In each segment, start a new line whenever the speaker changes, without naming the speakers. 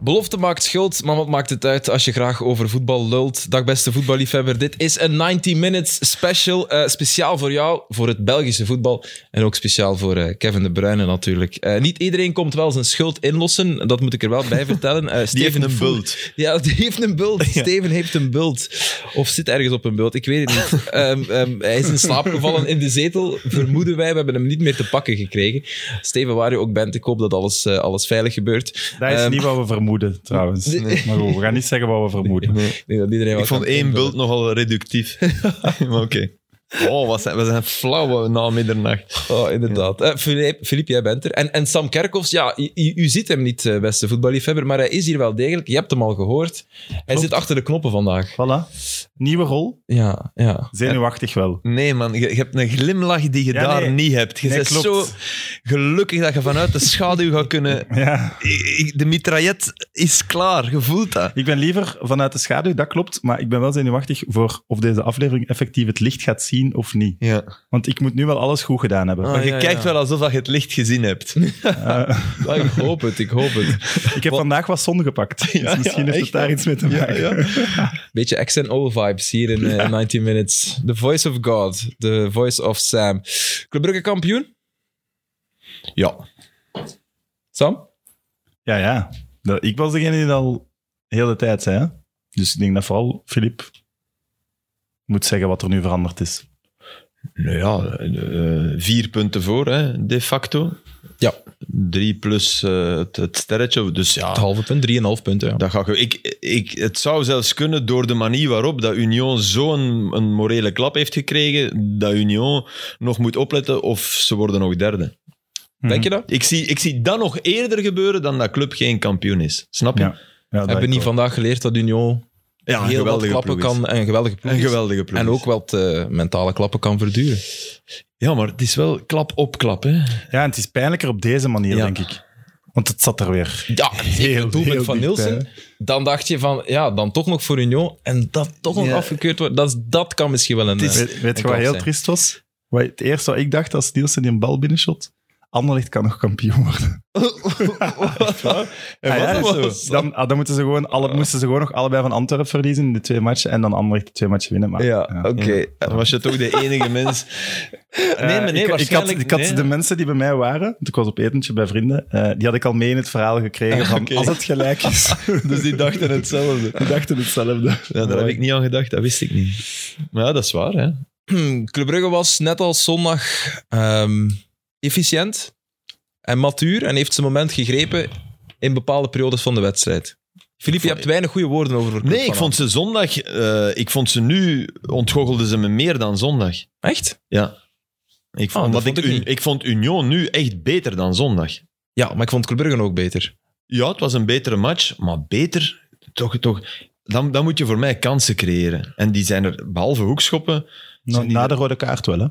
Belofte maakt schuld, maar wat maakt het uit als je graag over voetbal lult? Dag beste voetballiefhebber, dit is een 90 Minutes special. eh, speciaal voor jou, voor het Belgische voetbal. En ook speciaal voor eh, Kevin De Bruyne natuurlijk. Eh, niet iedereen komt wel zijn schuld inlossen, dat moet ik er wel bij vertellen. Eh, Steven
een
Voel-
bult.
Ja, die heeft een bult. Steven heeft een bult. Of zit ergens op een bult, ik weet het niet. Ehm, ehm, hij is in slaap gevallen in de zetel, vermoeden wij. We hebben hem niet meer te pakken gekregen. Steven, waar je ook bent, ik hoop dat alles, eh, alles veilig gebeurt.
Dat is
Ehm,
niet wat we vermoeden, trouwens. Maar goed, we gaan niet zeggen wat we vermoeden.
Ik denk dat iedereen wel
Ik vond
kan
één
invullen.
bult nogal reductief. maar oké. Oh, wat zijn, we zijn flauw na middernacht.
Oh, inderdaad. Eh, Filip, Filip, jij bent er. En, en Sam Kerkhoffs, ja, u, u- u ziet hem niet, eh, beste voetballiefhebber, maar hij is hier wel degelijk. Je hebt hem al gehoord. Hij zit achter de knoppen vandaag.
Voilà. Nieuwe rol.
Ja, ja.
Zenuwachtig wel.
Nee, man, je, je hebt een glimlach die je
Ja,
daar
nee.
niet hebt. Je
Nee,
bent
klopt.
zo gelukkig dat je vanuit de schaduw gaat kunnen.
Ja.
Ik- ik- De mitraillet is klaar, je voelt dat.
Ik ben liever vanuit de schaduw, dat klopt. Maar ik ben wel zenuwachtig voor of deze aflevering effectief het licht gaat zien of niet.
Ja.
Want ik moet nu wel alles goed gedaan hebben.
Ah,
Maar je
ja,
kijkt
ja.
wel alsof dat je het licht gezien hebt.
Eh,
Ja, ik hoop het, ik hoop het.
ik heb vandaag wat zon gepakt.
Ja,
dus misschien
ja,
heeft
echt,
het daar
ja.
iets mee te maken.
Beetje XNO-vibes hier in eh, 19 Minutes. The voice of God, the voice of Sam. Club Brugge kampioen?
Ja.
Sam?
Ja, ja. Dat- Ik was degene die dat al heel de tijd zei. hè. Dus ik denk dat vooral Filip moet zeggen wat er nu veranderd is.
Nou ja, eh, eh, vier punten voor, hè, de facto.
Ja.
Drie plus eh, het, het sterretje. Dus ja,
Het halve punt, 3,5 punten. Ja.
Dat ga ik, ik, ik, het zou zelfs kunnen door de manier waarop dat Union zo'n een morele klap heeft gekregen, dat Union nog moet opletten of ze worden nog derde.
Hm. Denk je dat?
Ik zie, ik zie dat nog eerder gebeuren dan dat club geen kampioen is. Snap je?
Ja. Ja, dat
Hebben we
ik
niet
wel.
vandaag geleerd dat Union heel
Ja, een
wat
geweldige
klappen
ploeg is.
kan en een geweldige ploeg
Een
is.
geweldige ploeg.
En
is.
ook wat eh, mentale klappen kan verduren.
Ja, maar het is wel klap op klap. Hè?
Ja, en het is pijnlijker op deze manier,
Ja.
denk ik. Want het zat er weer.
Ja, heel, het doelpunt
heel
van
dichtbij,
Nielsen. Dan dacht je van, ja, dan toch nog voor Union. En dat toch nog
Ja.
afgekeurd wordt. Dat, is- dat kan misschien wel een... eh,
weet weet je
kan
wat heel
zijn.
triest was? Wat, het eerste wat ik dacht als Nielsen die een bal binnenshot. Anderlecht kan nog kampioen worden.
En wat
Ah, ja,
dan?
dan, ah, dan moeten ze gewoon alle, moesten ze gewoon nog allebei van Antwerpen verliezen in de twee matchen. En dan Anderlecht de twee matchen winnen. Maar,
Dan was je toch de enige mens. Nee, maar nee,
ik, ik had,
waarschijnlijk...
ik had
nee.
de mensen die bij mij waren, want ik was op etentje bij vrienden, eh, die had ik al mee in het verhaal gekregen van
Ah, Oké.
als het gelijk is.
Dus die dachten hetzelfde.
die dachten hetzelfde.
Ja, daar heb ik niet aan gedacht, dat wist ik niet. Maar ja, dat is waar. Hè?
Hmm, Club Brugge was net als zondag ehm, efficiënt en matuur. En heeft zijn moment gegrepen in bepaalde periodes van de wedstrijd. Philippe, je hebt weinig goede woorden over voor Club
Nee, ik
vanavond.
vond ze zondag... eh, ik vond ze nu... Ontgoochelden ze me meer dan zondag.
Echt?
Ja. Ik
Ah,
vond,
dat
omdat
vond
ik,
ik
Un-
niet.
ik vond Union nu echt beter dan zondag.
Ja, maar ik vond Club Brugge ook beter.
Ja, het was een betere match, maar beter... Toch, toch... Dan, dan moet je voor mij kansen creëren. En die zijn er, behalve hoekschoppen,
Na, na de rode kaart wel, hè.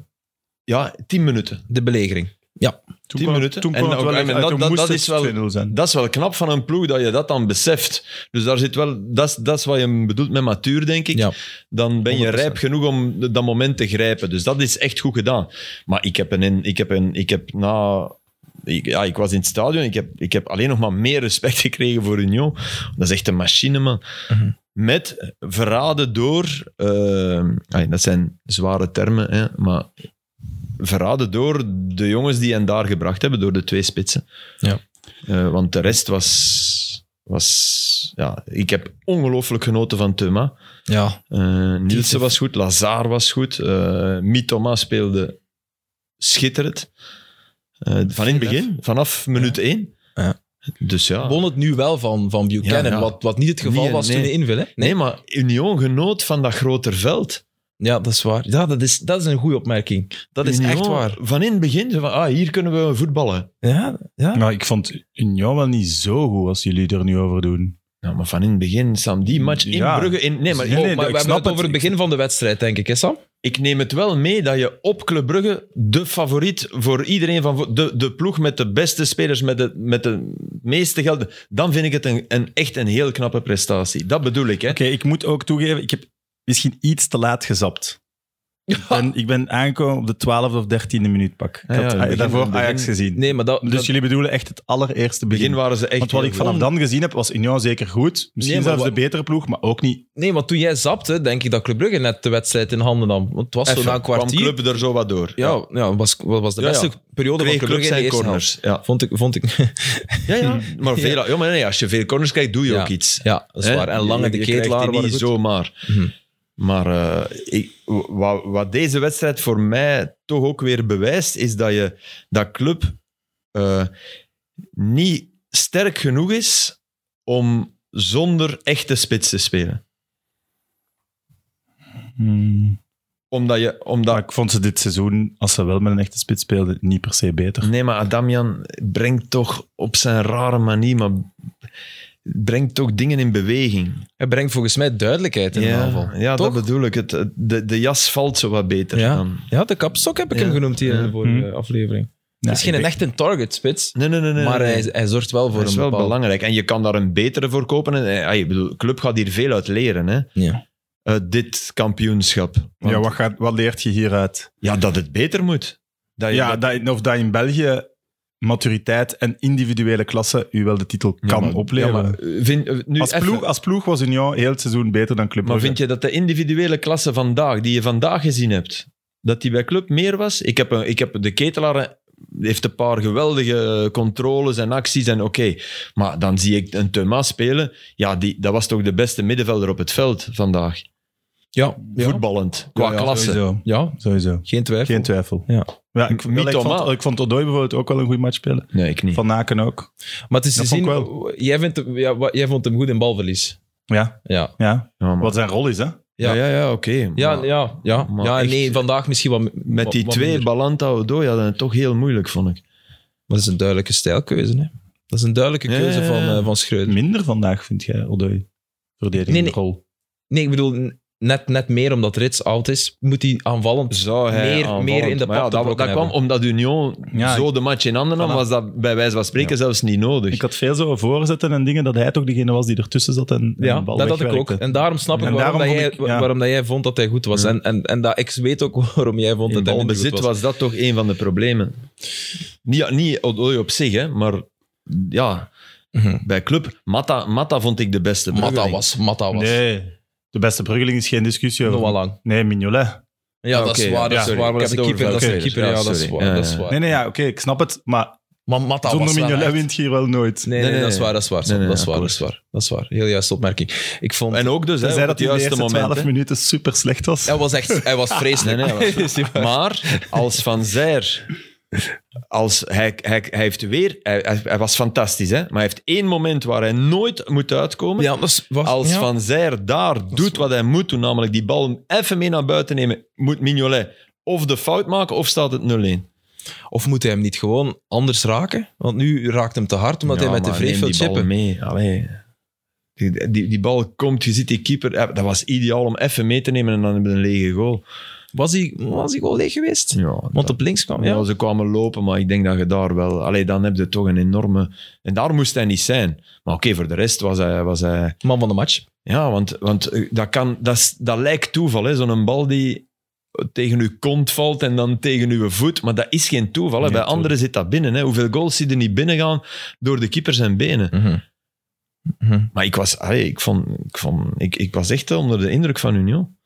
ja, tien minuten.
De belegering.
Toen
Tien
kwam-
minuten.
Toen
En
kwam het
ook-
wel
en
echt
dat-
uit, toen
dat-
moest
dat
het
is wel-
2-0 zijn.
Dat is wel knap van een ploeg, dat je dat dan beseft. Dus daar zit wel... Dat is, dat is wat je bedoelt met matuur, denk ik.
Ja.
dan ben je
100%.
rijp genoeg om dat moment te grijpen. Dus dat is echt goed gedaan. Maar ik heb een, in- ik heb een, ik heb na, ik, ja, ik was in het stadion. Ik heb, ik heb alleen nog maar meer respect gekregen voor Union. Dat is echt een machine, man.
Mhm.
Met verraden door, eh, ai, dat zijn zware termen, hè, maar verraden door de jongens die hen daar gebracht hebben, door de twee spitsen.
Ja.
Eh, want de rest was, was, ja, ik heb ongelooflijk genoten van Thuma.
Ja,
Eh,
Tietef.
Nielsen was goed, Lazar was goed, eh Mitoma speelde schitterend. Eh, van in het begin, vanaf minuut 1.
Ja.
Dus ja.
won het nu wel van, van Buchanan,
Ja, ja.
Wat, wat niet het geval
Nee,
was
nee.
toen hij inviel. Hè?
Nee, maar Union genoot van dat groter veld.
Ja, dat is waar. Ja, dat is, dat is een goede opmerking. Dat is
Union,
echt waar.
Van in het begin, zo van, ah, hier kunnen we voetballen.
Ja, ja.
Maar ik vond Union wel niet zo goed als jullie er nu over doen.
Nou, maar van in het begin, Sam, die match in
Ja.
Brugge. In, nee, maar,
Nee,
oh,
nee,
maar
maar
ik
we hebben
snap
het over het
het.
begin van de wedstrijd, denk ik, hè Sam?
ik neem het wel mee dat je op Club Brugge de favoriet voor iedereen van vo- de, de ploeg met de beste spelers, met de, met de meeste gelden. Dan vind ik het een, een, echt een heel knappe prestatie. Dat bedoel ik. Hè?
Oké, ik moet ook toegeven, ik heb misschien iets te laat gezapt. Ik ben, ik ben aangekomen op de 12e of 13e minuut pak.
Ja,
Ik
ja,
had
het begin
daarvoor
van het
Ajax
begin.
gezien.
Nee, maar dat...
dus
dat-
jullie bedoelen echt het allereerste begin.
begin waren ze echt...
Want wat
heel
ik vanaf
goed.
dan gezien heb, was Union zeker goed. Misschien
Nee, maar
zelfs de
wat-
betere ploeg, maar ook niet.
nee, want toen jij zapte, denk ik dat Club Brugge net de wedstrijd in handen nam. Want het was zo
Even,
na een kwartier.
kwam club er zo wat door.
ja, ja, was, was de
Ja,
beste
ja.
periode
Kreeg
van Club
Club
Brugge in de
zijn
eerste
corners,
helft.
ja.
Vond ik... Vond ik
Ja, ja. Maar, veel, ja. maar nee, als je veel corners kijkt, doe je
Ja.
ook iets.
ja, dat is
Hè?
waar. En lange
Je-
de
je krijgt die
ketelaar waren
niet
goed.
zomaar.
Mhm.
Maar eh, ik, wat, wat deze wedstrijd voor mij toch ook weer bewijst, is dat je dat club eh, niet sterk genoeg is om zonder echte spits te spelen.
Hmm.
Omdat je,
Maar
omdat,
ik vond ze dit seizoen, als ze wel met een echte spits speelden, niet per se beter.
nee, maar Adamian brengt toch op zijn rare manier, maar brengt toch dingen in beweging.
Hij brengt volgens mij duidelijkheid in de
Ja,
aanval.
ja dat
Toch?
bedoel ik. Het, het- de, de jas valt zo wat beter
Ja.
dan.
Ja, de kapstok heb ik
Ja.
hem genoemd hier in de
Ja.
vorige
Hm.
aflevering.
Ja,
het is geen
ik
een
denk-
echt een target spits,
Nee, nee, nee. nee
maar
nee.
hij, hij zorgt wel voor
dat is
een
wel
bepaald...
belangrijk. En je kan daar een betere voor kopen. En, eh, ah, ik bedoel, de club gaat hier veel uit leren. Hè?
Ja.
Eh, dit kampioenschap. Want-
Ja, wat, gaat, wat leert je hieruit?
ja, dat het beter moet. Dat je-
Ja,
dat-
dat, in- of dat in België maturiteit en individuele klasse u wel de titel kan
Ja, maar-
opleveren.
ja, maar, eh, vind, eh, nu
als,
even.
ploeg, als ploeg was Union heel het seizoen beter dan Club
maar
Brugge.
vind je dat de individuele klasse vandaag, die je vandaag gezien hebt, dat die bij club meer was? Ik heb, een, ik heb de ketelaar eh, heeft een paar geweldige controles en acties en oké. Maar dan zie ik een Thomas spelen. Ja, die, dat was toch de beste middenvelder op het veld vandaag.
Ja, ja.
Voetballend, qua
Ja, ja,
klasse.
Sowieso.
Ja,
sowieso.
geen twijfel.
Geen twijfel.
Ja.
Ja, ik, wel,
Niet
ik, vond,
normaal.
ik vond Odoi bijvoorbeeld ook wel een goede match spelen.
Nee, ik niet.
Van Naken ook.
Maar het is te
Dat vond
zien,
ik
jij, vindt hem, ja, wa- jij vond hem goed in balverlies.
Ja,
Ja,
ja.
Ja, maar-
Wat zijn rol is, hè?
Ja.
Ja, ja, ja, oké.
ja,
Maar
ja, ja.
maar
ja
echt-
nee, vandaag misschien wat
Met die twee, Balanta, Odoi, hadden het toch heel moeilijk, vond ik.
Dat is een duidelijke stijlkeuze, hè. Dat is een duidelijke
Ja,
keuze
ja, ja.
van, eh, van Schreuder.
Minder vandaag, vind jij, Odoi? Verdedigende
Nee, nee.
rol.
Nee, ik bedoel, n- net, net meer omdat Rits oud is, moet hij aanvallend...
Zou
hij aanvallend- Maar ja, dat-
dat,
dat
dat kwam
kwam
omdat Union
Ja,
zo de match in handen nam,
Voilà.
was dat bij wijze van spreken zelfs niet nodig.
Ik had veel zo voorzetten en dingen dat hij toch degene was die ertussen zat en, en
Ja,
de bal
dat had ik ook.
wegwerkte.
En daarom snap ik,
En
waarom,
daarom
dat jij,
vond ik- ja.
waarom dat jij vond dat hij goed was.
Ja.
En, en, en dat, ik weet ook waarom jij vond
in
dat hij minder goed
balbezit
was.
was. dat toch een van de problemen. Niet, niet Odoi op zich, hè, maar ja,
Mhm.
bij club. Matta, Matta vond ik de beste.
Matta
Bruggeling.
was, Matta was.
Nee, de beste bruggeling is geen discussie
Nog
over.
wel lang.
Nee, Mignolet.
Ja,
Ah,
dat is
oké,
waar.
ja,
Dat is
sorry.
waar. Maar
Ik
dat is
heb
een
het
keeper. Dat is een
overgelopen.
keeper. Ja,
Ja,
dat is
sorry.
waar.
Ja,
Dat is
ja.
waar.
Nee, nee, ja, oké, ik snap het. Maar
Maar Matta
zonder
was wel
Mignolet
echt-
wint je hier wel nooit.
Nee, nee,
Nee,
dat is
nee.
waar, dat is waar.
Nee, nee,
dat is waar, dat
akkoord.
is waar. Dat is waar. Heel juiste opmerking. Ik vond...
En ook dus,
Ze
hè,
zei
op
dat
het
hij de
juiste
eerste
moment.
12
hè.
minuten super slecht was.
Hij was echt... Hij was vreselijk.
Nee, nee, hij was-
Is die waar?
Maar als Van Zijr... Als hij, hij, hij heeft weer... Hij, hij- hij was fantastisch, hè? Maar hij heeft één moment waar hij nooit moet uitkomen.
Ja, dat is- was...
Als
ja.
Van Zijr daar doet wat hij moet doen, namelijk die bal even mee naar buiten nemen, moet Mignolet of de fout maken of staat het 0-1.
Of moet hij hem niet gewoon anders raken? Want nu raakt hem te hard, omdat hij met de vreef wil
die bal
chippen.
mee. Allee. Die, die, die bal komt, je ziet die keeper. eh, Dat was ideaal om even mee te nemen en dan hebben we een lege goal.
Was hij, was hij wel leeg geweest?
Ja,
Want
dat-
op links kwam...
Ja.
Ja.
ze kwamen lopen, maar ik denk dat je daar wel... Allee, dan heb je toch een enorme... En daar moest hij niet zijn. Maar oké, voor de rest was hij... Was hij
Man van de match.
ja, want, want eh, dat, kan, dat, is- dat lijkt toeval, hè. Zo'n bal die tegen uw kont valt en dan tegen uw voet. Maar dat is geen toeval. Hè.
Nee,
Bij
tuurlijk.
anderen zit dat binnen. Hè. Hoeveel goals zie je niet binnengaan door de keeper zijn benen? Maar ik was... Allee, ik, vond, ik, vond, ik, ik was echt eh, onder de indruk van Union.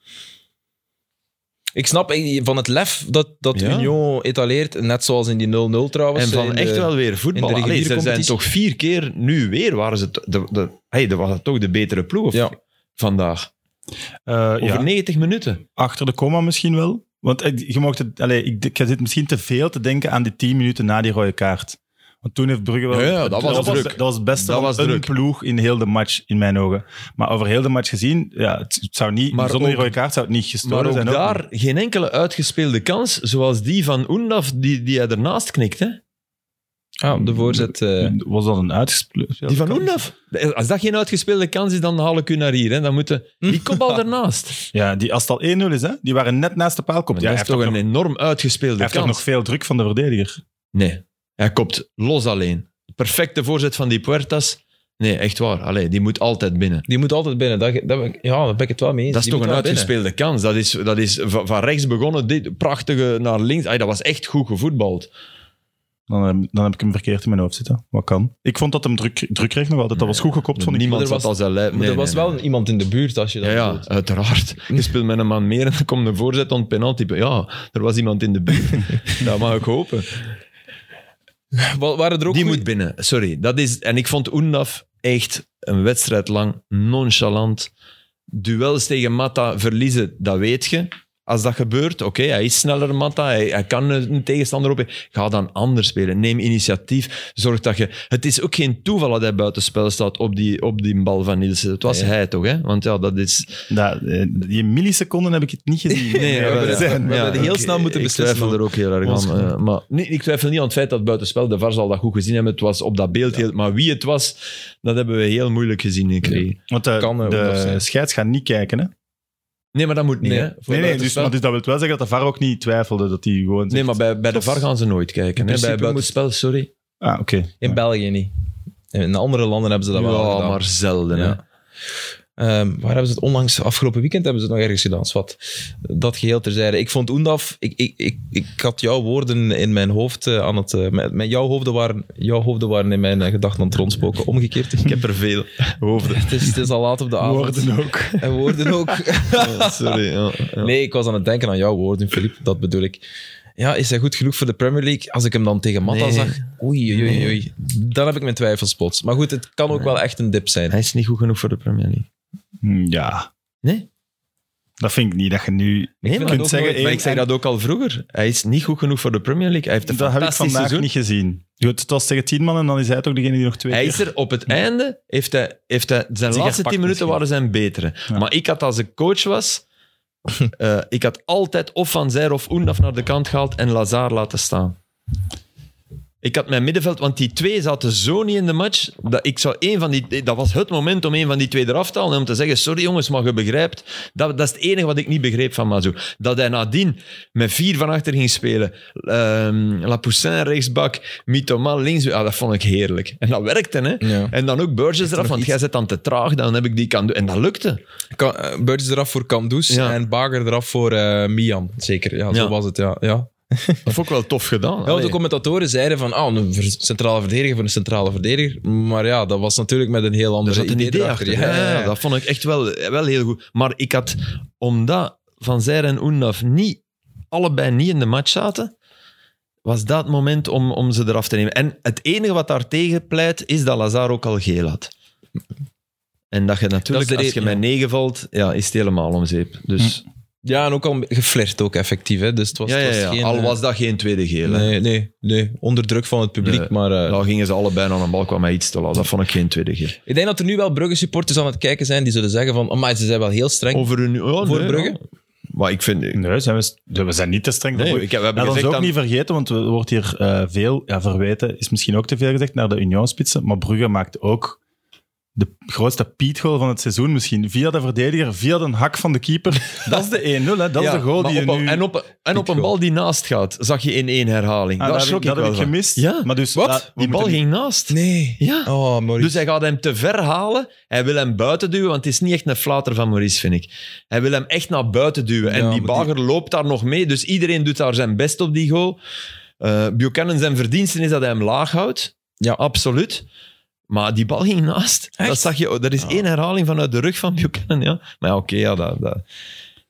Ik snap eh, van het lef dat, dat
Ja.
Union etaleert, net zoals in die 0-0 trouwens.
En
in
van
de-
echt wel weer voetbal.
in de
Allee, ze zijn
reguliere
toch vier keer nu weer... Waren ze t- de, de, hey, dat was toch de betere ploeg of
Ja.
vandaag.
Eh,
Over
ja.
90 minuten.
Achter de comma misschien wel. Want eh, je mocht het, allez, ik, ik zit misschien te veel te denken aan die 10 minuten na die rode kaart. Want toen heeft Brugge wel...
Ja, ja, dat was druk.
Dat was het beste
Dat
van
was
een
druk.
ploeg in heel de match, in mijn ogen. Maar over heel de match gezien, ja, het, het zou niet,
Maar
zonder die
ook-
rode kaart zou het niet
Maar
gestolen
ook
zijn.
daar geen enkele uitgespeelde kans, zoals die van Oendaf, die, die hij ernaast knikt. Hè?
Ah, de voorzet... eh,
Was dat een uitgespeeld?
Die van Oendaf. Als dat geen uitgespeelde kans is, dan haal ik u naar hier. Hè? Dan moeten die kopbal ernaast.
Hm. Ja, die, als het al 1-0 is, hè? die waren net naast de paal. Komt.
Maar
Ja, hij
dat is
heeft
toch
toch
een
nog-
enorm
hij
uitgespeelde
heeft toch nog
kans.
veel druk van de verdediger.
Nee, hij kopt los alleen. Perfecte voorzet van die Puertas. Nee, echt waar. Allee, die moet altijd binnen.
Die moet altijd binnen. Dat, dat, ja, daar ben ik het wel mee eens.
Dat is
Die
toch
moet
een
wel binnen.
uitgespeelde kans. Dat is, dat is van, van rechts begonnen, dit prachtige naar links. Ay, dat was echt goed gevoetbald.
Dan, heb- dan heb ik hem verkeerd in mijn hoofd zitten. Wat kan? Ik vond dat hem druk, druk kreeg nog altijd. Dat was goed gekopt, vond ik.
Niemand
Maar er
zat
was-
als een lijf.
Maar
Nee,
er was
nee,
wel
nee.
iemand in de buurt als je dat
Ja, ja,
bedoelt.
uiteraard. Je speelt met een man meer en dan komt een voorzet on penalty. Ja, er was iemand in de buurt. dat mag ik hopen.
Wa- Waren er ook
Die
goeie-
moet binnen. Sorry. Dat is, en ik vond Oendaf echt een wedstrijd lang nonchalant. Duels tegen Matta verliezen, dat weet je. Als dat gebeurt, oké, hij is sneller Matta, hij, hij kan een een tegenstander op. Ga dan anders spelen. Neem initiatief. Zorg dat je... Het is ook geen toeval dat hij buitenspel staat op die, op die bal van Nielsen. Het was
Nee.
hij toch, hè? Want ja, dat is...
Dat, eh, die milliseconden heb ik het niet gezien.
we hebben
ja,
het- we hebben
ja,
het
eh,
heel
ik-
snel moeten
Ik
beslissen,
twijfel er ook heel erg
Ons
aan.
geluk.
eh, maar nee, ik twijfel niet aan het feit dat buitenspel, de VAR zal dat goed gezien hebben. Het was op dat beeld heel... Maar wie het was, dat hebben we heel moeilijk gezien gekregen. Nee,
Want de,
Kan, eh, of
de
zijn.
scheids gaat niet kijken, hè?
maar dat moet niet,
Nee.
hè? Voor
Nee, nee, dus,
buitenspel-
maar dus dat wil wel zeggen dat de VAR ook niet twijfelde dat hij gewoon...
nee,
zegt-
maar bij, bij de VAR gaan ze nooit kijken. Hè? Bij
principe
buitenspel, sorry.
Ah, oké.
In België niet. In andere landen hebben ze dat wel
Ja,
gedaan.
maar zelden, hè?
Ja. Ehm, waar hebben ze het onlangs, afgelopen weekend hebben ze het nog ergens gedaan. Zwat. Dat geheel terzijde. Ik vond Oendaf, ik, ik, ik, ik had jouw woorden in mijn hoofd eh, aan het... eh, mijn, mijn- jouw, hoofden waren, jouw hoofden waren in mijn eh, gedachten aan het rondspoken. Omgekeerd.
Ik heb er veel over.
Het is, het is al laat
Ah,
op de avond.
Woorden ook.
En woorden ook.
Sorry, ja, ja.
Nee, ik was aan het denken aan jouw woorden, Filip. Dat bedoel ik. Ja, is hij goed genoeg voor de Premier League? Als ik hem dan tegen Matta
Nee.
zag, oei, oei, oei, oei. Dan heb ik mijn twijfels plots. Maar goed, het kan ook wel echt een dip zijn.
Hij is niet goed genoeg voor de Premier League.
Hm, Ja,
Nee?
dat vind ik niet dat je nu...
Nee,
kunt zeggen,
Maar ik
één-
zei dat ook al vroeger. Hij is niet goed genoeg voor de Premier League. Hij heeft een
Dat heb ik
fantastisch
vandaag
seizoen.
niet gezien. Goed, het was tegen tien man en dan is hij toch degene die nog twee
Hij
keer-
is er op het einde. Heeft hij, heeft hij, zijn laatste
Zich gepakt
tien minuten
misschien.
waren zijn betere.
Ja.
Maar ik had als ik coach was. eh, ik had altijd of Van Zijr of Oendaf naar de kant gehaald en Lazar laten staan. Ik had mijn middenveld, want die twee zaten zo niet in de match. Dat, ik zou één van die, dat was het moment om een van die twee eraf te halen. en Om te zeggen: Sorry jongens, maar je begrijpt. Dat, dat is het enige wat ik niet begreep van Mazou. Dat hij nadien met vier van achter ging spelen. Ehm Lapoussin rechtsbak, Mitoma links. Ah, dat vond ik heerlijk. En dat werkte, hè?
Ja.
En dan ook Burgess eraf,
nog
want
iets?
jij zit dan te traag, dan heb ik die kan doen. En dat lukte.
Ka- eh, Burgess eraf voor Kandus
Ja.
en Bager eraf voor eh, Mian. Zeker, ja, zo
Ja.
was het. Ja, ja.
Dat vond ik wel tof gedaan.
ja want de
Allee.
commentatoren zeiden van ah, een ver- centrale verdediger voor een centrale verdediger. Maar ja, dat was natuurlijk met een heel
er
ander
zat een idee achter. Ja, ja, ja.
Dat,
Dat vond ik echt wel, wel heel goed. Maar ik had, omdat Van Zijr en Oendaf niet, allebei niet in de match zaten, was dat het moment om, om ze eraf te nemen. En het enige wat daartegen pleit, is dat Lazar ook al geel had. En dat je natuurlijk,
de
als je
reden,
met negen valt, ja, is het helemaal om zeep. Dus,
ja, en ook al geflirt ook effectief. Hè. Dus het was,
ja,
het was
ja, ja.
geen...
al
eh,
was dat geen tweede geel. hè.
Nee, nee, nee, onder druk van het publiek.
Nee.
Maar eh,
Nou gingen ze allebei naar een bal, kwam hij iets te laat. Dat vond ik geen tweede keer.
Ik denk dat er nu wel Brugge-supporters aan het kijken zijn die zullen zeggen van, maar ze zijn wel heel streng.
Over een oh,
Voor
nee,
Brugge?
ja. Maar ik vind...
Nee, zijn we, we zijn niet te streng.
Nee,
daarvoor.
ik heb- we hebben
Laat ons
gezegd
ook
dat-
niet vergeten, want er wordt hier eh, veel ja, verweten, is misschien ook te veel gezegd, naar de Union-spitsen. Maar Brugge maakt ook de grootste pietgoal van het seizoen misschien. Via de verdediger, via de hak van de keeper. Dat is de 1-0, hè. dat
Ja,
is de goal
maar
die je
op een-
nu...
En op, en op een
goal.
bal die naast gaat, zag je in één herhaling. Daar
Ah, dat heb
schrok
ik, dat
ik
heb
wel
ik
van.
gemist.
Ja.
Maar dus,
Wat?
ja, we
die bal
moeten
ging naast.
Nee.
Ja.
Oh, Maurice.
Dus hij gaat hem te ver halen. Hij wil hem buiten duwen, want het is niet echt een flater van Maurice, vind ik. Hij wil hem echt naar buiten duwen.
Ja,
en die
maar die-
bager loopt daar nog mee. Dus iedereen doet daar zijn best op die goal. Eh Buchanan zijn verdiensten is dat hij hem laag houdt.
Ja.
Absoluut. Maar die bal ging naast.
Echt? Ah.
Dat zag je. Dat is
Ja.
één herhaling vanuit de rug van Buchanan. Ja. Maar ja, oké, ja, dat... dat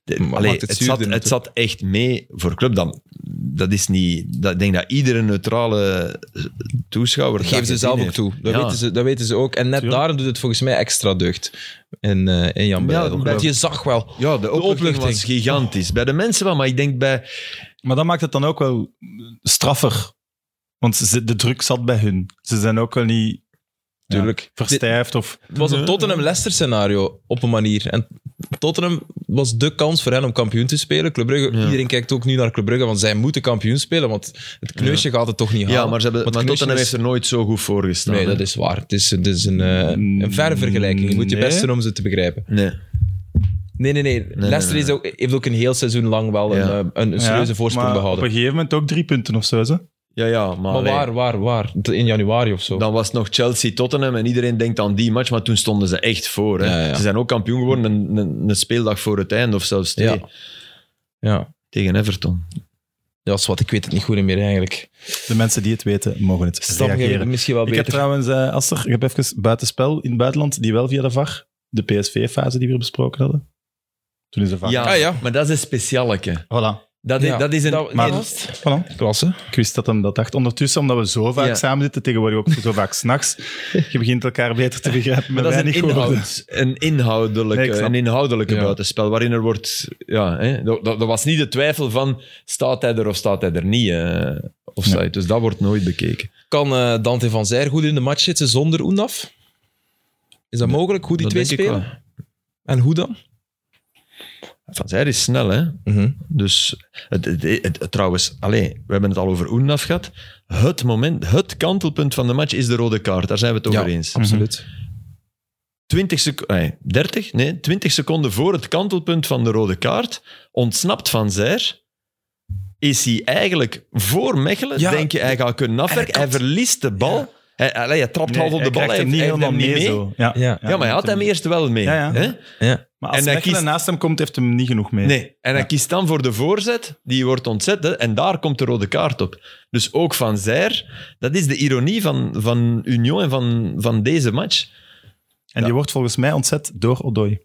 de-
Maar
allee,
maakt het
het, zat,
zuurder
het zat echt mee voor club. Dat, dat is niet... Dat, ik denk dat iedere neutrale toeschouwer...
dat
dat
geven ze
gezien
zelf ook
heeft.
toe. Dat,
Ja.
weten ze, dat weten ze ook. En net
Tuurlijk.
daarom doet het volgens mij extra deugd in, eh, in Jan Breidel.
bij-
Want je zag wel.
Ja, de opluchting
opluchting.
was gigantisch. Bij de mensen wel, maar ik denk bij...
Maar dat maakt het dan ook wel straffer. Want ze- de druk zat bij hun. Ze zijn ook wel niet ja,
Tuurlijk.
verstijfd of...
Het was een Tottenham-Leicester scenario op een manier. En Tottenham was de kans voor hen om kampioen te spelen. Club Brugge,
Ja.
Iedereen kijkt ook nu naar Club Brugge, want zij moeten kampioen spelen, want het kneusje gaat het toch niet halen.
Ja, maar, ze hebben,
Want
maar
Kneusje
Tottenham
is-
heeft er nooit zo goed voor gestaan.
Nee,
hè.
dat is waar. Het is, het is een, eh,
Mm,
een verre vergelijking. Je moet je
Nee.
best doen om ze te begrijpen.
Nee.
Nee, nee, nee. Leicester
nee,
is ook, heeft ook een heel seizoen lang wel
Ja.
een, eh, een, een serieuze
Ja,
voorsprong
maar
behouden.
op een gegeven moment ook drie punten of zo. Ze.
Ja, ja, maar,
Maar
allee,
waar, waar, waar? In januari of zo.
dan was het nog Chelsea-Tottenham en iedereen denkt aan die match, maar toen stonden ze echt voor. Hè.
Ja, ja.
Ze zijn ook kampioen geworden een, een, een speeldag voor het einde of zelfs twee,
Ja. Ja.
tegen Everton.
ja, is wat. Ik weet het niet goed meer eigenlijk.
De mensen die het weten, mogen het
Stam jij
reageren.
het Dus misschien wel
Ik heb
beter.
trouwens, eh Aster, ik heb even buitenspel in het buitenland, die wel via de VAR, de PSV-fase die we hier besproken hadden. Toen is de VAR. Ah,
Ja,
Ah, ja.
maar dat is een specialeke.
Voilà.
Dat, is-
Ja,
dat is een...
dat-
Maar,
Ja.
voilà.
Klasse.
Ik wist dat hem dat dacht. Ondertussen, omdat we zo vaak
Ja.
samen zitten, tegenwoordig ook zo vaak s'nachts, je begint elkaar beter te begrijpen
Maar
met
dat is
weinig
een,
woorden.
inhoud, een inhoudelijke,
Nee, ik snap.
een inhoudelijke
Ja.
buitenspel, waarin er wordt... Ja, hè, dat, dat, dat was niet de twijfel van staat hij er of staat hij er niet. eh, offside. Dus dat wordt nooit bekeken.
Kan eh, Dante van Zijr goed in de match zitten zonder Oendaf? Is dat mogelijk? Hoe die
Dat
twee
denk ik
spelen? En hoe dan?
Van Zijr is snel, hè. Dus het, het, het- het- trouwens, allez, we hebben het al over Oenaf gehad. Het moment, het kantelpunt van de match is de rode kaart. Daar zijn we het
Ja.
over eens.
Absoluut.
20 seconden, 30, nee, 20 seconden voor het kantelpunt van de rode kaart, ontsnapt van Zijr, is hij eigenlijk voor Mechelen,
Ja.
denk je, hij gaat kunnen afwerken.
En hij
Hij
kapt.
verliest de bal. Hij, allee, hij trapt half op de bal, hij,
krijgt hem
heeft-
niet
hij heeft
helemaal
hem niet
mee.
mee.
zo. Ja.
Ja.
Ja, maar hij had hem eerst wel mee.
Ja, ja.
Hè?
Ja.
Maar als
en hij
Mechelen
kiest-
naast hem komt, heeft hem niet genoeg mee.
Nee, en hij kiest dan voor de voorzet, die wordt ontzet, hè, en daar komt de rode kaart op. Dus ook van Zijr, dat is de ironie van, van Union en van, van deze match.
En die wordt volgens mij ontzet door Odoi.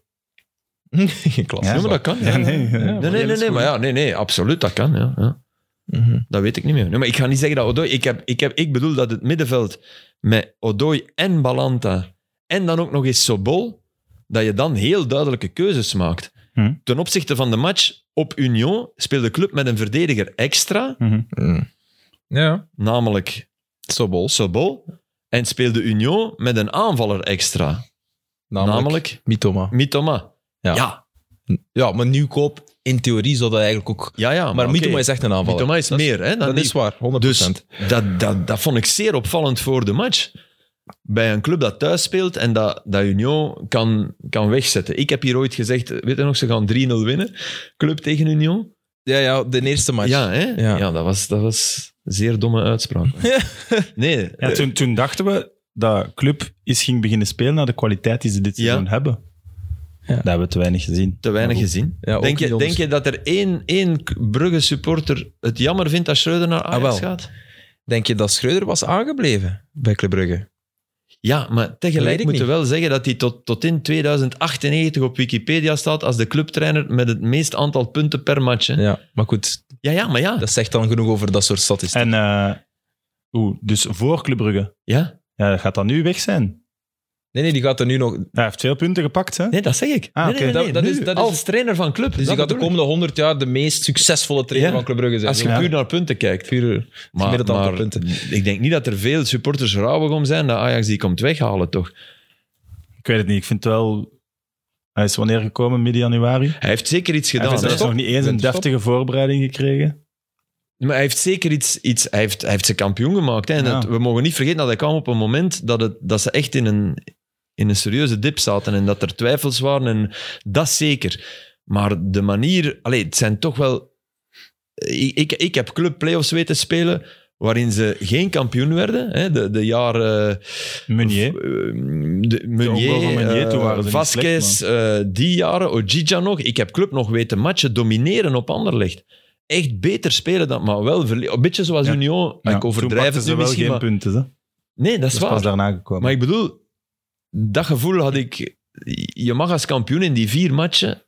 Klasse.
Ja, maar dat kan.
Ja, nee.
Ja.
Nee, nee, nee, nee, maar ja, nee, nee, absoluut, dat kan. Ja, ja.
Mhm.
Dat weet ik niet meer. Nee, maar ik ga niet zeggen dat Odoi... Ik, heb, ik, heb, ik bedoel dat het middenveld met Odoi en Balanta en dan ook nog eens Sobol, dat je dan heel duidelijke keuzes maakt.
Hm.
Ten opzichte van de match op Union speelde de club met een verdediger extra,
Mhm.
Mm. Ja.
namelijk
Sobol.
Sobol, en speelde Union met een aanvaller extra, namelijk,
Namelijk, Mitoma.
Mitoma.
Ja.
ja,
Ja, maar nieuwkoop, in theorie zal dat eigenlijk ook...
ja. ja,
Maar
Ah, oké.
Mitoma is echt een aanvaller.
Mitoma is
dat
meer hè, dan
dat
die-
is waar, 100%.
Dus dat, dat, dat vond ik zeer opvallend voor de match. Bij een club dat thuis speelt en dat, dat Union kan, kan wegzetten. Ik heb hier ooit gezegd, weet je nog, ze gaan 3-0 winnen. Club tegen Union.
ja, ja, de eerste match.
Ja, hè?
Ja.
Ja, dat, was, dat was een zeer domme uitspraak. nee,
Ja,
eh,
toen, toen dachten we dat Club is ging beginnen spelen naar de kwaliteit die ze dit
Ja.
seizoen hebben.
Ja.
Dat hebben we te weinig gezien.
te weinig
Maar goed.
gezien.
Ja, ook
denk,
niet
je, denk
onder-
je dat er één, één Brugge-supporter het jammer vindt dat Schreuder naar Ajax
Ah, wel.
gaat?
Denk je dat Schreuder was aangebleven bij Club Brugge?
Ja, maar
Weet
tegelijk
ik
moeten we
niet.
wel zeggen dat hij tot, tot in 2098 op Wikipedia staat als de clubtrainer met het meest aantal punten per match. hè.
Ja, maar goed,
Ja, ja, maar ja.
dat zegt dan genoeg over dat soort statistieken.
En, eh, oeh, dus voor Club Brugge.
ja.
Ja, dat gaat dan nu weg zijn.
Nee, nee, die gaat er nu nog...
Hij heeft veel punten gepakt, hè?
Nee, dat zeg ik.
Ah,
nee,
oké.
nee, nee,
Dat- dat
nu,
is- dat is-
als trainer van club.
Dus die
dat
gaat de
bedoel ik.
komende 100 jaar de meest succesvolle trainer
Ja.
van Club Brugge zijn.
Als je
Ja.
puur naar punten kijkt.
Puur...
Maar,
gemiddeld aantal
maar
punten.
ik denk niet dat er veel supporters rouwig om zijn dat Ajax die komt weghalen, toch?
Ik weet het niet. Ik vind het wel... Hij is wanneer gekomen? Midden januari?
Hij heeft zeker iets
Hij
gedaan.
heeft
hè.
zelfs nog niet eens een
Winterstop.
deftige voorbereiding gekregen.
Maar hij heeft zeker iets... iets hij, heeft, hij heeft ze kampioen gemaakt. Hè. En
Ja.
het- we mogen niet vergeten dat hij kwam op een moment dat, het, dat ze echt in een, in een serieuze dip zaten en dat er twijfels waren. En dat zeker. Maar de manier... Allee, het zijn toch wel... Ik, ik, ik heb club playoffs weten spelen waarin ze geen kampioen werden. Hè. De, de jaren...
Meunier.
Eh, de-
ook wel van Meunier,
eh,
toen waren ze niet
Vasquez,
slecht,
eh, die jaren, Ojija nog. Ik heb club nog weten matchen domineren op Anderlecht. Echt beter spelen dan, maar wel verlie- Een beetje zoals
Ja.
Union.
Ja,
ik
toen
overdrijf
pakten
het
ze
nu
wel
misschien,
geen
maar...
punten. Hè? Dat
Nee, dat is
is
waar.
pas daarna gekomen.
Maar ik bedoel, dat gevoel had ik... Je mag als kampioen in die vier matchen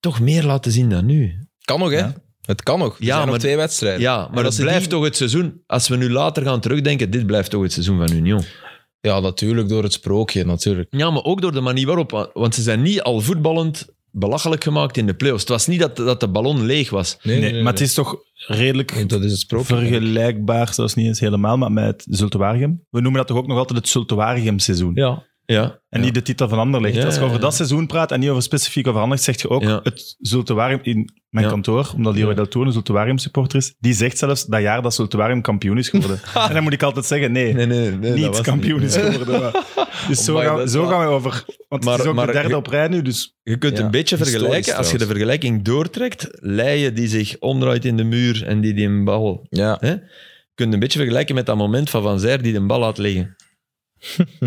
toch meer laten zien dan nu.
Kan nog, hè?
Ja.
Het kan nog. Er
Ja,
zijn nog
maar-
twee wedstrijden.
Ja, maar
als
dat
ze
blijft
die-
toch het seizoen... Als we nu later gaan terugdenken, dit blijft toch het seizoen van Union.
Ja, natuurlijk, door het sprookje, natuurlijk.
Ja, maar ook door de manier waarop. Want ze zijn niet al voetballend belachelijk gemaakt in de playoffs. Het was niet dat, dat de ballon leeg was.
Nee,
nee, maar het is toch redelijk
Nee, Dat is het sprookje.
vergelijkbaar, zelfs niet eens helemaal, maar met Zultuarium. We noemen dat toch ook nog altijd het Zultuarium-seizoen.
Ja.
Ja,
En niet de titel van ander ligt.
Ja,
Als je
ja,
over
ja.
dat seizoen praat en niet over specifiek over ander, zeg je ook,
Ja.
het Zultuarium in mijn
Ja.
kantoor, omdat Leroy
Ja.
Del Tour een Zultuarium supporter is, die zegt zelfs dat jaar dat Zultuarium kampioen is geworden. en dan moet ik altijd zeggen, nee,
nee, nee, nee, dat
niet
was
kampioen
niet.
is geworden. maar- Dus zo,
Amai, dat
gaan,
is
zo
wel-
gaan we over. Want
Maar-
het is ook
maar-
de derde op rij nu, dus
Je kunt
Ja,
een beetje
historisch
vergelijken. Als je de
trouwens.
vergelijking doortrekt, Leien die zich omdraait in de muur en die die een bal...
Ja.
Je kunt een beetje vergelijken met dat moment van Van Zijr die de bal laat liggen.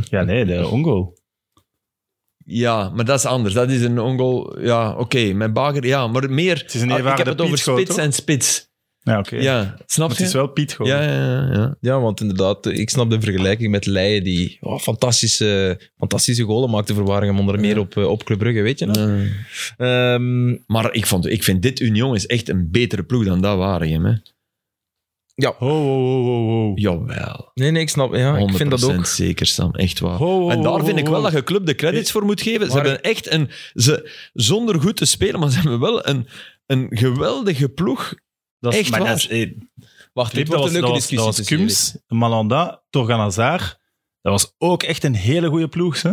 ja, nee, de ongoal.
Ja, maar dat is anders. Dat is een ongoal. Ja, oké, met Bager. Ja, maar meer.
Het is een
Ah, ik
eerwaarde
heb het over
Piet-goal,
spits
toch?
en spits.
Ja, oké.
Ja,
Maar
snap
het
je?
is wel Piet gewoon.
ja, ja, ja, ja.
ja, want inderdaad, ik snap de vergelijking met Leien, die oh, fantastische, fantastische golen maakte voor Waregem, onder meer op, eh, op Club Brugge, weet je nog?
Ja.
Ehm,
Maar ik, vond, ik vind dit Union is echt een betere ploeg dan dat Waregem. Hè?
Ho, ho, ho, ho, ho.
Jawel.
nee, nee, ik snap. Ja,
100%
Ah, ik vind dat ook.
zeker, Sam. Echt waar.
Ho, ho,
en
ho,
daar vind
ho,
ik wel
ho.
dat je club de credits voor moet geven. Ze
Eh, Maar-
hebben echt een... Ze, zonder goed te spelen, maar ze hebben wel een, een geweldige ploeg.
Dat is,
Echt
maar dat
waar.
is- eh,
Wacht, dit
Filip, dat
wordt
was,
een leuke
dat was, dat
discussie.
was
tussen jullie.
Kums, Malanda, Torgan Hazard. Dat was ook echt een hele goede ploeg. Hè?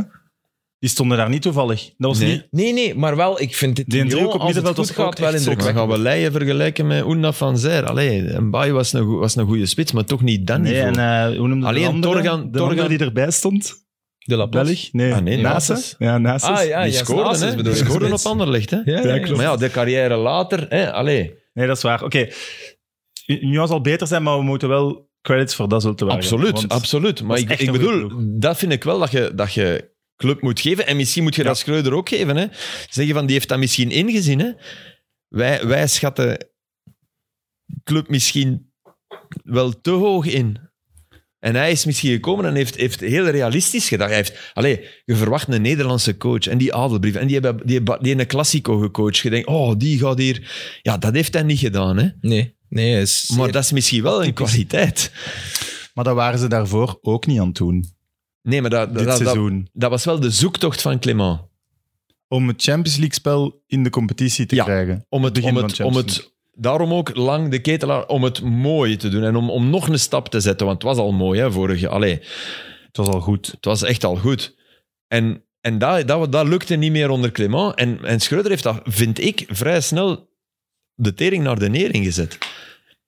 Die stonden daar niet toevallig. Dat was
Nee.
niet...
Nee, nee, maar wel, ik vind dit
Die
Union,
driehoek op
als het
middenveld
goed
was ook
gaat, wel
echt
in
zot.
de
Maar dan gaan we Leien vergelijken met Una van Zijr. Allee, een Baai was een, goe- was een goede spits, maar toch niet dat
Nee,
niveau.
en eh, hoe noemde
Alleen
de andere?
Torgan-
de andere
Torgan-
die erbij stond?
De La Paz.
Belg? Nee,
Ah,
ah,
nee, Nasus.
Ja, Nasus.
Ah, ja,
die
ja,
scoorden,
Nasus
hè?
bedoel
Die
je,
scoorden op
spits.
Anderlecht, hè?
Ja, ja,
klopt.
Maar ja, de carrière later, hè? Allee.
Nee, dat is waar. Oké, Nu zal beter zijn, maar we moeten wel credits voor dat zullen wagen.
Absoluut,
Want-
absoluut. Maar
is
ik,
echt
ik
een goede
bedoel, dat vind ik wel dat je, dat je club moet geven. En misschien moet je dat Schreuder ook geven. Hè? Zeggen van, die heeft dat misschien ingezien. Hè? Wij, wij schatten club misschien wel te hoog in. En hij is misschien gekomen en heeft, heeft heel realistisch gedacht. Hij heeft, allee, je verwacht een Nederlandse coach en die adelbrief. En die hebben die, hebben- die een Classico gecoacht. Je denkt, oh, die gaat hier... Ja, dat heeft hij niet gedaan. Hè?
Nee, nee, hij is
Maar dat is misschien wel een kwaliteit.
Maar dat waren ze daarvoor ook niet aan het doen.
Nee, maar dat,
dit
dat, dat,
seizoen.
Dat was wel de zoektocht van Clement.
Om het Champions League-spel in de competitie te
Ja.
krijgen.
Om het,
Begin
om
van
het, om
Champions
het, daarom ook lang de ketelaar, om het mooi te doen en om, om nog een stap te zetten. Want het was al mooi, hè, vorig jaar. Allee,
Het was al goed.
het was echt al goed. En, en dat, dat, dat lukte niet meer onder Clement. En, en Schreuder heeft dat, vind ik, vrij snel de tering naar de nering gezet.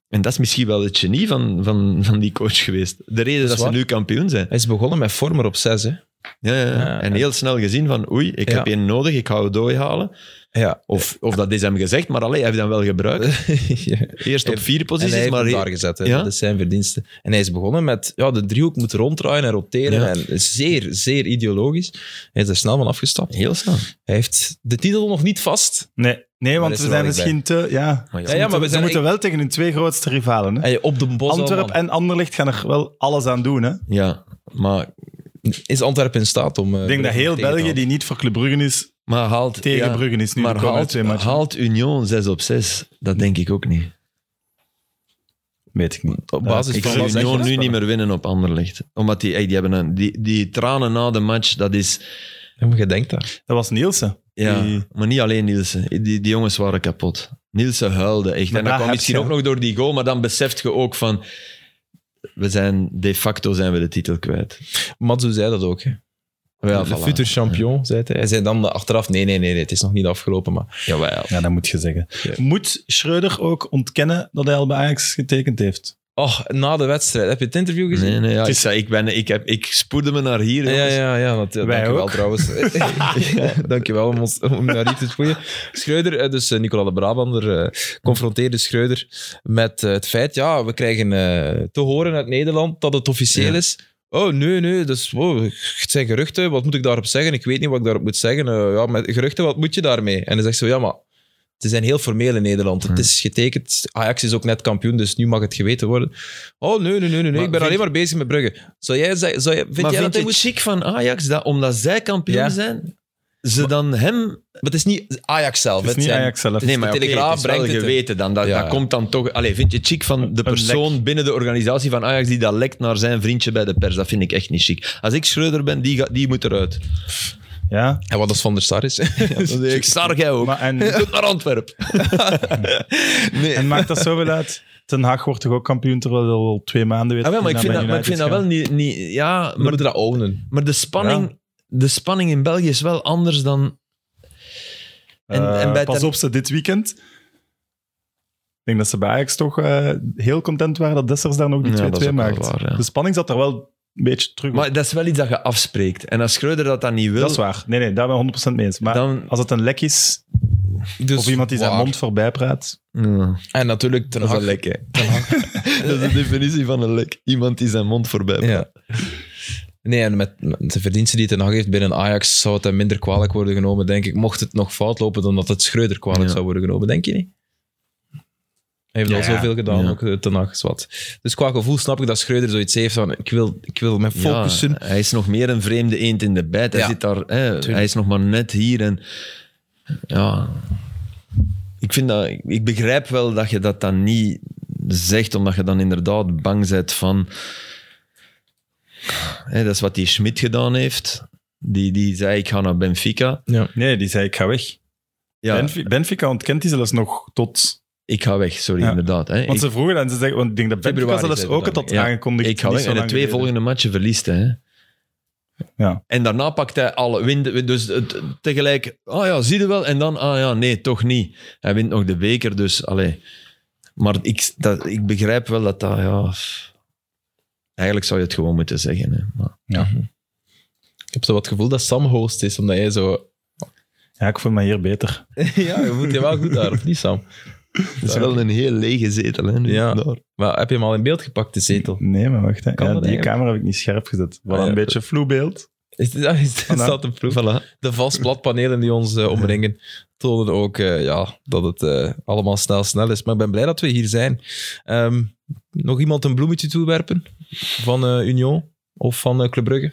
En dat is misschien wel het genie van, van, van die coach geweest. De reden dat, ze
waar.
nu kampioen zijn.
Hij is begonnen met Vormer op 6, hè?
Ja, ja, ja.
Ja,
en
ja.
heel snel gezien van, oei, ik
Eh, Ja.
heb één nodig, ik ga het dooi halen.
Ja.
Of, of dat is hem gezegd, maar alleen hij heeft hem wel gebruikt.
ja.
Eerst op
En-
vier
en
posities,
hij heeft
maar
hem
he-
daar gezet. Hè.
Ja?
Dat is zijn verdiensten. En hij is begonnen met... Ja, de driehoek moet ronddraaien en roteren.
Ja.
En zeer, zeer ideologisch. Hij is er snel van afgestapt.
heel snel.
Hij heeft de titel nog niet vast.
Nee, nee
Maar
want
is
we
er
zijn
wel iets
misschien te... Ja,
Maar ja.
Ze
Ja, ja,
moeten-
maar we
ze
zijn-
moeten
ik-
wel tegen hun twee grootste rivalen. Hè?
En op de bos
Antwerpen en Anderlecht gaan er wel alles aan doen. Hè?
Ja, maar,
Is Antwerpen in staat om... eh,
Ik denk dat
Brugge tegen
heel
te
België,
houden?
die niet voor Club Brugge is,
maar haalt...
tegen
ja,
Brugge is nu.
maar
de komende
haalt,
twee matchen.
haalt Union 6 op 6? Dat denk ik ook niet.
Weet ik niet.
Op basis
Ik
van...
zie
wat zeg je?
Union nu niet meer winnen op Anderlecht. Omdat die, ey, die, hebben een, die, die tranen na de match, dat is...
Ja, maar je denkt dat.
Dat was Nielsen.
Ja,
Die-
maar niet alleen Nielsen. Die, die jongens waren kapot. Nielsen huilde echt.
Maar
en dat
daar
kwam
heb
misschien
je-
ook nog door die goal, maar dan beseft je ook van... We zijn, de facto zijn we de titel kwijt.
Matsu zei dat ook, hè.
Ja,
de
voilà.
futur champion, zei hij. Hij zei dan achteraf, nee, nee, nee, nee, het is nog niet afgelopen, maar...
Jawel.
Ja, dat moet je zeggen.
Ja.
Moet Schreuder ook ontkennen dat hij al bij Ajax getekend heeft?
Oh, na de wedstrijd. Heb je het interview gezien?
Nee, nee, ja,
Het
ik,
is-
zei, ik, ben, ik, heb, ik spoedde me naar hier.
Ja,
jongens.
ja, ja. Dat, ja
Wij
dankjewel
ook.
trouwens. ja, dankjewel om, ons, om naar hier te spoeien. Schreuder, eh, dus eh, Nicola de Brabander, eh, confronteerde Schreuder met eh, het feit, ja, we krijgen eh, te horen uit Nederland dat het officieel
Ja.
is. Oh, nee, nee, dat is, wow, het zijn geruchten. Wat moet ik daarop zeggen? Ik weet niet wat ik daarop moet zeggen. Eh, ja, met geruchten, wat moet je daarmee? En hij zegt zo, ja, maar ze zijn heel formeel in Nederland. Het
Ja.
is getekend. Ajax is ook net kampioen, dus nu mag het geweten worden. Oh, nee, nee, nee, nee. nee,
Maar
ik ben
vind-
alleen maar bezig met Brugge. Zou jij, zeggen- zou jij, vind
maar
jij
vind
dat hij
je
moet
het chic van Ajax dat omdat zij kampioen
Ja.
zijn, ze dan hem...
Maar het is niet Ajax zelf.
Het is niet
zijn-
Ajax zelf.
Nee, maar
oké,
Telegraaf
het is wel
brengt het
geweten dan. Dat,
Ja.
dat komt dan toch... Allee, vind je het chic van de
Een
persoon binnen de organisatie van Ajax die dat lekt naar zijn vriendje bij de pers? Dat vind ik echt niet chic. Als ik Schreuder ben, die, ga- die moet eruit.
Ja.
En wat als Van der Sar is?
ik star jij ook.
Maar,
Je
en,
kunt naar Antwerpen. nee.
en maakt dat zoveel uit? Ten Haag wordt toch ook kampioen, terwijl hij al twee maanden weet.
Ah, wel, maar ik
dat
vind
hij
dat,
naar
maar ik vind dat
United
wel niet... niet ja,
We
maar,
moeten dat ownen.
maar de spanning... de spanning in België is wel anders dan... En-
Eh,
en bij
pas
Tem-
op, ze dit weekend. Ik denk dat ze bij Ajax toch eh, heel content waren dat Dessers daar nog die
Ja,
2-2
dat is ook wel
maakt.
waar, ja.
De spanning zat daar wel een beetje terug op.
Maar dat is wel iets dat je afspreekt. En als Schreuder dat dan niet wil...
dat is waar. Nee, nee, daar ben ik 100% mee eens. Maar
Dan-
als het een lek is,
Dus
of iemand die zijn
waar.
mond voorbij praat,
Ja,
En natuurlijk Ten
dat is
Hag.
een lek, hè. dat is de definitie van een lek. Iemand die zijn mond voorbij praat.
Ja. Nee, en met met de verdiensten die Ten Hag heeft binnen Ajax zou het hem minder kwalijk worden genomen, denk ik. Mocht het nog fout lopen, dan dat het Schreuder kwalijk
Ja.
zou worden genomen, denk je niet? Hij heeft
Ja,
al zoweel gedaan,
ja.
ook eh, Ten Hag. Zwart. Dus qua gevoel snap ik dat Schreuder zoiets heeft van ik wil, ik wil me focussen.
Ja, hij is nog meer een vreemde eend in de bijt. Hij
Ja.
zit daar, hè, hij is nog maar net hier. En, ja. Ik, vind dat, ik begrijp wel dat je dat dan niet zegt, omdat je dan inderdaad bang bent van... Hè, dat is wat die Schmidt gedaan heeft. Die, die zei, ik ga naar Benfica.
nee, die zei ik ga weg.
Ja,
Benfi- Benfica ontkent die zelfs nog tot...
ik ga weg, sorry,
Ja.
inderdaad. Hè.
Want
Ik-
ze vroegen en ze zeggen, want ik denk dat Benfica
Februari
zelfs
zeiden
ook het
dan,
had
ja.
aangekondigd.
Ik ga
niet
weg.
zo
En de
lang
twee
geleden.
volgende matchen verliest hij. hè.
Ja.
En daarna pakt hij alle winden. Dus het- tegelijk, ah ja, zie je wel. En dan, ah ja, nee, toch niet. Hij wint nog de beker, dus allee. Maar ik, dat, ik begrijp wel dat dat, ja... f- Eigenlijk zou je het gewoon moeten zeggen. Hè. Maar,
Ik heb zo wat gevoel dat Sam host is, omdat jij zo...
Ja, ik voel me hier beter.
ja, je voelt je wel goed daar, of niet Sam?
het is wel een heel lege zetel. Hè, nu,
Ja.
daar.
Maar heb je hem al in beeld gepakt, de zetel?
Nee, maar wacht. Hè.
Kan
Ja,
dat
die
eigenlijk?
camera heb ik niet scherp gezet. Wel
Ah, ja.
een beetje vloebeeld.
Is, is, is,
Voilà.
dat een proef?
Voilà.
De vastplatpanelen die ons eh, omringen tonen ook eh, ja, dat het eh, allemaal snel snel is. Maar ik ben blij dat we hier zijn. Ehm, nog iemand een bloemetje toewerpen van eh, Union of van eh, Club Brugge?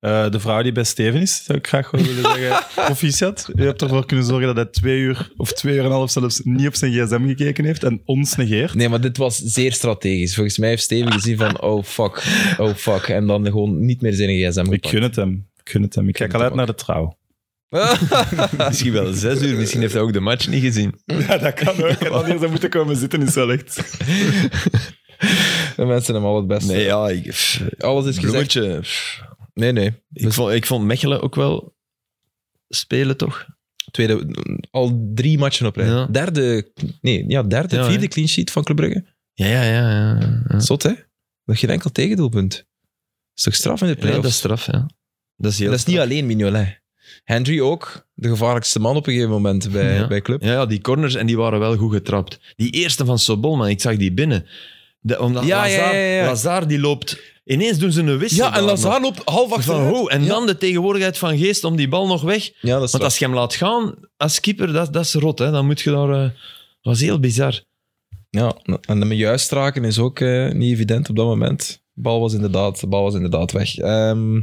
Eh, de vrouw die bij Steven is, zou ik graag wel willen zeggen. Proficiat. U hebt ervoor kunnen zorgen dat hij twee uur of twee uur en een half zelfs niet op zijn gsm gekeken heeft en ons negeert.
Nee, maar dit was zeer strategisch. Volgens mij heeft Steven gezien van oh fuck, oh fuck. En dan gewoon niet meer zin in gsm
Ik
gepakt.
gun het hem. Ik gun het hem. Ik kijk
het
al uit
hem
naar de trouw.
Misschien wel zes uur. Misschien heeft hij ook de match niet gezien.
Ja, dat kan ook. En dan hier zou moeten komen zitten is wel echt.
De mensen hem al het beste.
Nee, ja. Ik, pff,
Alles
Dus
is gezegd.
bloemetje, pff.
Nee, nee.
Ik, vond, ik vond Mechelen ook wel spelen, toch?
Tweede, al drie matchen op rij.
Ja.
Derde, nee, ja, derde
Ja, hè?
vierde clean sheet van Club Brugge.
Ja, ja, ja. ja. ja.
Zot, hè? Nog geen enkel tegendoelpunt. is toch straf in de
Ja,
play-offs?
dat is straf, ja. Dat is, heel
En dat is niet
straf.
alleen Mignolet. Hendry ook, de gevaarlijkste man op een gegeven moment bij,
Ja.
bij club.
Ja, ja, die corners en die waren wel goed getrapt. Die eerste van Sobol, man, ik zag die binnen. De, omdat
Ja, ja,
Lazar,
ja, ja, ja.
Lazar die loopt... Ineens doen ze een wissel. daar nog.
loopt half
Van, ho, en
Ja.
dan de tegenwoordigheid van Geest om die bal nog weg.
Ja, dat is
Want als je hem laat gaan als keeper, dat, dat is rot. Hè. Dan moet je daar... eh, Dat was heel bizar.
waar. Ja, en hem juist raken is ook eh, niet evident op dat moment. De bal was inderdaad, de bal was inderdaad weg. Ehm,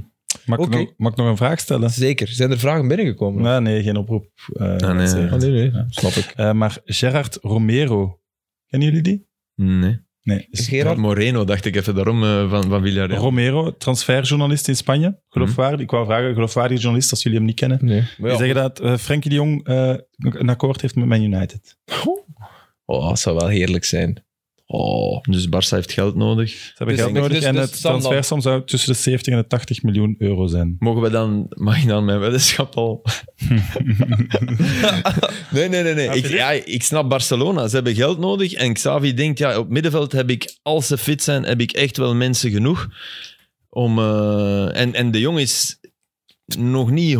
Mag, ik
Oké.
nog, mag ik nog een vraag stellen?
zeker. Zijn er vragen binnengekomen?
Nee, nee, geen oproep. eh,
Ah, nee.
mensen.
Oh, nee, nee.
Ja.
Snap ik.
Eh, maar Gerard Romero. Kennen jullie die?
Nee.
Nee. is-
Gerard?
Moreno dacht ik even daarom eh, van, van Villarreal.
Romero, transferjournalist in Spanje. Geloofwaardig.
Mhm.
Ik wou vragen, geloofwaardige journalist, als jullie hem niet kennen.
Nee. Maar
Die
ja.
zeggen dat eh, Frenkie de Jong eh, een akkoord heeft met Man United.
Oh, dat zou wel heerlijk zijn. Oh.
Dus Barça heeft geld nodig.
Ze hebben
Dus-
geld nodig
dus-
en
dus
het
Sam dan-
transfersom zou tussen de 70 en de 80 miljoen euro zijn.
Mogen we dan... Mag ik dan mijn weddenschap al... Nee, nee, nee. nee.
Snap je
Ik,
dit?
ja, ik snap Barcelona. Ze hebben geld nodig. En Xavi denkt, ja, op middenveld heb ik, als ze fit zijn, heb ik echt wel mensen genoeg. Om, eh, en, en de jong is nog niet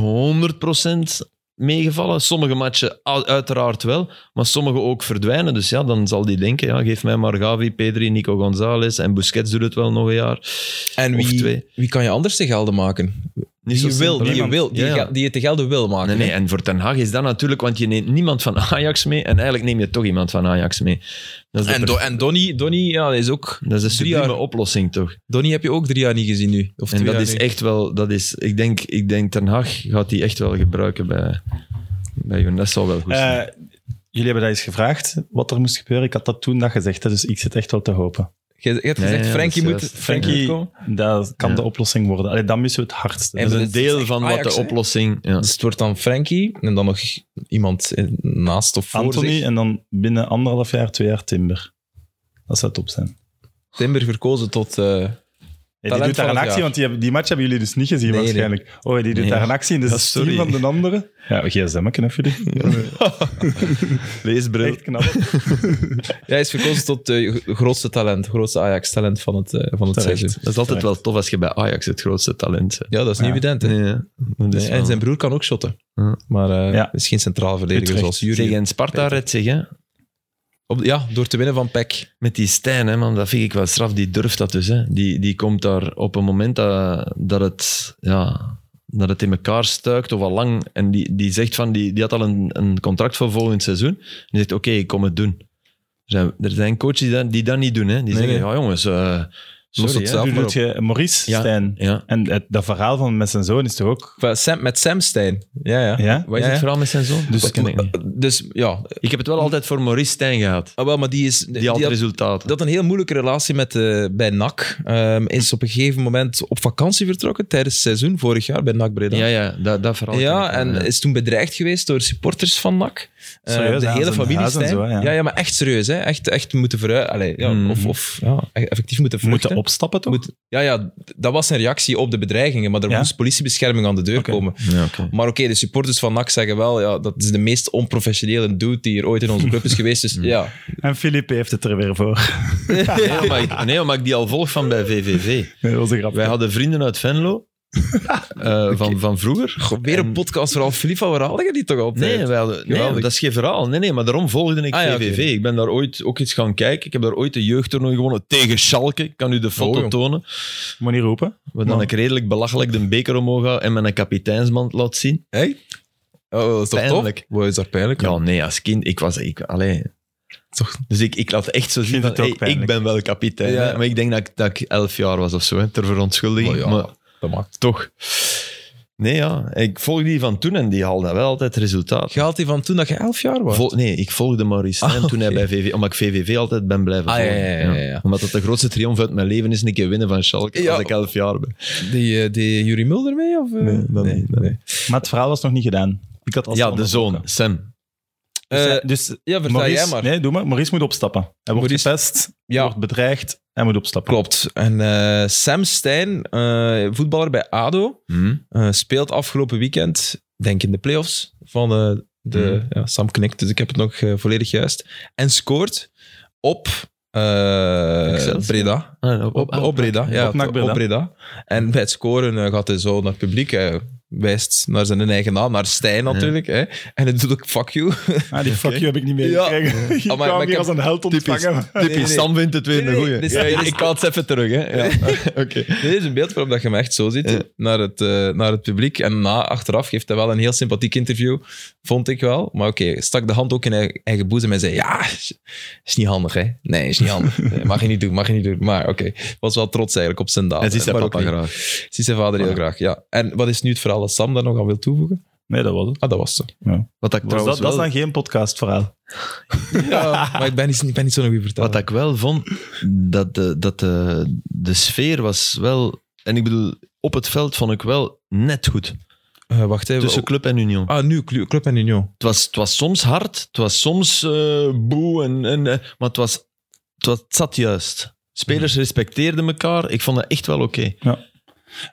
100% meegevallen. Sommige matchen u- uiteraard wel, maar sommige ook verdwijnen. Dus ja, dan zal die denken, ja, geef mij maar Gavi, Pedri, Nico González en Busquets doet het wel nog een jaar.
En
Of
wie,
twee.
wie kan je anders te gelden maken?
Niet zo
die je wil,
simpel,
die je,
hè?
wil, die,
Ja,
je
ja.
ge- die je te gelden wil maken.
Nee, nee, en voor Ten Hag is dat natuurlijk, want je neemt niemand van Ajax mee en eigenlijk neem je toch iemand van Ajax mee. Dat is de
En, Do- en Donny, Donny ja, dat is ook...
Dat is een
Drie
sublieme
jaar.
oplossing, toch?
Donny heb je ook drie jaar niet gezien nu. Of
En
twee
dat
jaar
is
nu.
echt wel... Dat is, ik, denk, ik denk, Ten Hag gaat die echt wel gebruiken bij, bij hun. Dat zou wel goed zijn.
Eh, jullie hebben dat eens gevraagd, wat er moest gebeuren. Ik had dat toen dat gezegd, hè, dus ik zit echt wel te hopen.
Je, je hebt
Ja,
gezegd,
ja,
Frankie moet...
dat is juist.
Frankie moet
Frankie,
komen.
dat kan
Ja.
de oplossing worden. Allee, dat missen we het hardste. Dus
En
dat
dat
is
is
een deel
echt
van wat
Ajax,
de
hè?
oplossing... Ja.
Dus het wordt dan Frankie en dan nog iemand eh, naast of voor zich.
Anthony en dan binnen anderhalf jaar, twee jaar Timber. Dat zou top zijn.
Timber verkozen tot eh,
die
Talent
doet daar
van
een
het
actie,
jaar.
want die, heb- die match hebben jullie dus niet gezien
Nee, nee.
waarschijnlijk. Oh, die doet
Nee.
daar een actie in de
Ja,
16
sorry.
van de andere. Ja, gsm hè jullie.
Leesbril.
Echt knap.
Jij is verkozen tot eh, gro- grootste talent, grootste Ajax-talent van het, eh, van het
Terecht.
seizoen.
Dat is altijd wel tof als je bij Ajax het grootste talent bent.
Ja, dat is niet
Ja.
evident. Hè?
Nee, ja. Dat is
Nee,
wel-
en zijn broer kan ook shotten.
Ja.
Maar eh
Ja.
is geen centraal verdediger
Utrecht.
zoals
Zeg,
Jury.
en Sparta redt zich, hè?
Op- ja, door te winnen van Peck.
Met die Stijn, hè, man, dat vind ik wel straf. Die durft dat dus. Hè. Die, die komt daar op een moment dat, dat, het, ja, dat het in elkaar stuikt of al lang. En die, die zegt van, die, die had al een, een contract voor volgend seizoen. En die zegt, oké, ik kom het doen. Er zijn, er zijn coaches die dat, die dat niet doen. Hè. Die
Nee,
zeggen,
nee.
ja jongens, eh
Los
sorry.
het
hè."
zelf.
Nu
maar
doet je Maurice
Ja.
Stijn.
Ja.
En het, dat verhaal van met zijn zoon is toch ook...
Enfin, Sam, met Sam Stein. Ja, ja.
Ja?
Wat
Ja,
is het
ja.
verhaal met zijn zoon?
Dus-
Dat ken ik, niet.
Dus ja,
ik heb het wel altijd voor Maurice Stijn gehad.
ah, wel, maar die is...
Die had
die had-
resultaten.
dat een heel moeilijke relatie met, eh, bij NAC. Ehm is op een gegeven moment op vakantie vertrokken tijdens het seizoen vorig jaar bij NAC Breda.
ja, ja, dat, dat verhaal. ken
Ja,
ik wel,
en
ja.
is toen bedreigd geweest door supporters van NAC. Eh,
Serieus,
de
ja,
hele
zijn
familie
huis en
Stijn.
zo,
ja.
ja.
Ja, maar echt serieus. Hè? Echt, echt moeten vooruit. Allee, ja,
Mhm.
Of, of ja, e- effectief Hmm. moeten vluchten.
Moeten opstappen toch?
Moet- ja, ja, d- dat was een reactie op de bedreigingen, maar er
Ja.
moest politiebescherming aan de deur
Oké.
komen.
Ja, oké.
Maar oké, de supporters van NAC zeggen wel, ja, dat is de meest onprofessionele dude die er ooit in onze club is geweest. Dus ja,
En Philippe heeft het er weer voor.
Nee, maar ik, nee, maar ik die al volg van bij VVV.
Nee, dat was een grap.
Wij hadden vrienden uit Venlo. eh, van, van vroeger.
Goh, weer een podcast vooral Philippa, waar hadden je die toch altijd?
Nee, wij hadden, nee,
Geweldig.
dat is geen verhaal. Nee, nee, maar daarom volgde ik
Ah, ja,
VVV. Ik ben daar ooit ook iets gaan kijken. Ik heb daar ooit de jeugdtoernooi gewonnen tegen Schalke. Ik kan u de
Oh,
foto
joh.
tonen.
Moet niet roepen.
Waar dan
Man.
ik redelijk belachelijk de beker omhoog hou en mijn kapiteinsband laat zien.
Hey? Oh, dat is toch
Pijnlijk.
tof? Wat is daar pijnlijk aan?
Ja, nee, als kind, ik was... Ik, allee.
Toch?
Dus ik, ik laat echt zo zien
vind
van,
het ook
hey, ik
pijnlijk.
ben wel kapitein.
Ja.
hè. Maar ik denk dat ik, dat ik elf jaar was of zo, hè, ter verontschuldiging.
Oh, ja.
Maar
Dat maakt.
toch. Nee, ja. Ik volg die van toen en die haalde wel altijd resultaat.
Je haalt die van toen dat je elf jaar was?
Vol- nee, ik volgde Maurice Stijn
Ah,
toen
oké.
hij bij VV... Omdat ik VVV altijd ben blijven
Ah, ja,
volgen.
ja, ja, ja, ja.
Omdat dat de grootste triomf uit mijn leven is, een keer winnen van Schalke
Ja.
als ik elf jaar ben.
Die, eh, die Jurie Mulder mee? Of, eh?
Nee, dat niet, dat
Maar het verhaal was nog niet gedaan. Ik had al
ja,
staan
de zoon,
onderbroken.
Sam.
Dus,
Eh,
hij- dus
ja, vertel
Maurice,
jij maar.
Nee, doe maar. Maurice moet opstappen. Hij wordt
Maurice-
gepest, hij
ja,
wordt bedreigd, hij moet opstappen.
klopt. En eh, Sam Stein, eh, voetballer bij ADO,
Hm?
eh, speelt afgelopen weekend, denk in de playoffs, van eh, de...
Mhm.
Ja, Sam knikt, dus ik heb het nog eh, volledig juist. En scoort op... eh,
Excelsior.
Breda.
Ah,
Op, op Breda, ja.
Op NAC Breda.
op En bij het scoren eh, gaat hij zo naar het publiek. Hij wijst naar zijn eigen naam, naar Stijn natuurlijk. Hè. En het doet ook fuck you.
Ah, die fuck
Oké.
you heb ik niet meegekregen. Ja. Ah, Ik
maar- maar
kwam
ik
hier
heb-
als een held ontvangen.
Nee, nee, nee.
Sam vindt het weer
Nee,
een
nee,
goeie.
dit is-
Ja,
dit is-
ik haal het even terug, hè. Ja. Oké.
Dit is een beeld waarop dat je hem echt zo ziet,
Ja.
naar, het, eh, naar het publiek. En na, achteraf geeft hij wel een heel sympathiek interview, vond ik wel. Maar oké, stak de hand ook in eigen, eigen boezem en zei, ja, is, is niet handig, hè. Nee, is niet handig. Nee, mag je niet doen, mag je niet doen. Maar oké, was wel trots eigenlijk op zijn daad.
En ze is zijn papa graag.
Ziet zijn vader heel
Ja.
graag, ja. En wat is nu het verhaal dat Sam daar nog aan wil toevoegen?
Nee, dat was het.
Ah, dat was ze.
Wat ik
Was
trouwens
dat, dat is
wel-
dan geen podcastverhaal.
Ja, maar ik ben niet, ik ben niet zo'n goede verteller.
Wat ik wel vond, dat, de, dat de, de sfeer was wel... En ik bedoel, op het veld vond ik wel net goed.
Eh, wacht even.
Tussen club en union.
Ah, nu Clu- Club en Union.
Het, was, het was soms hard, het was soms eh, boe, en, en, eh, maar het, was, het, was, het zat juist.
Mhm.
Spelers respecteerden elkaar. Ik vond dat echt wel oké.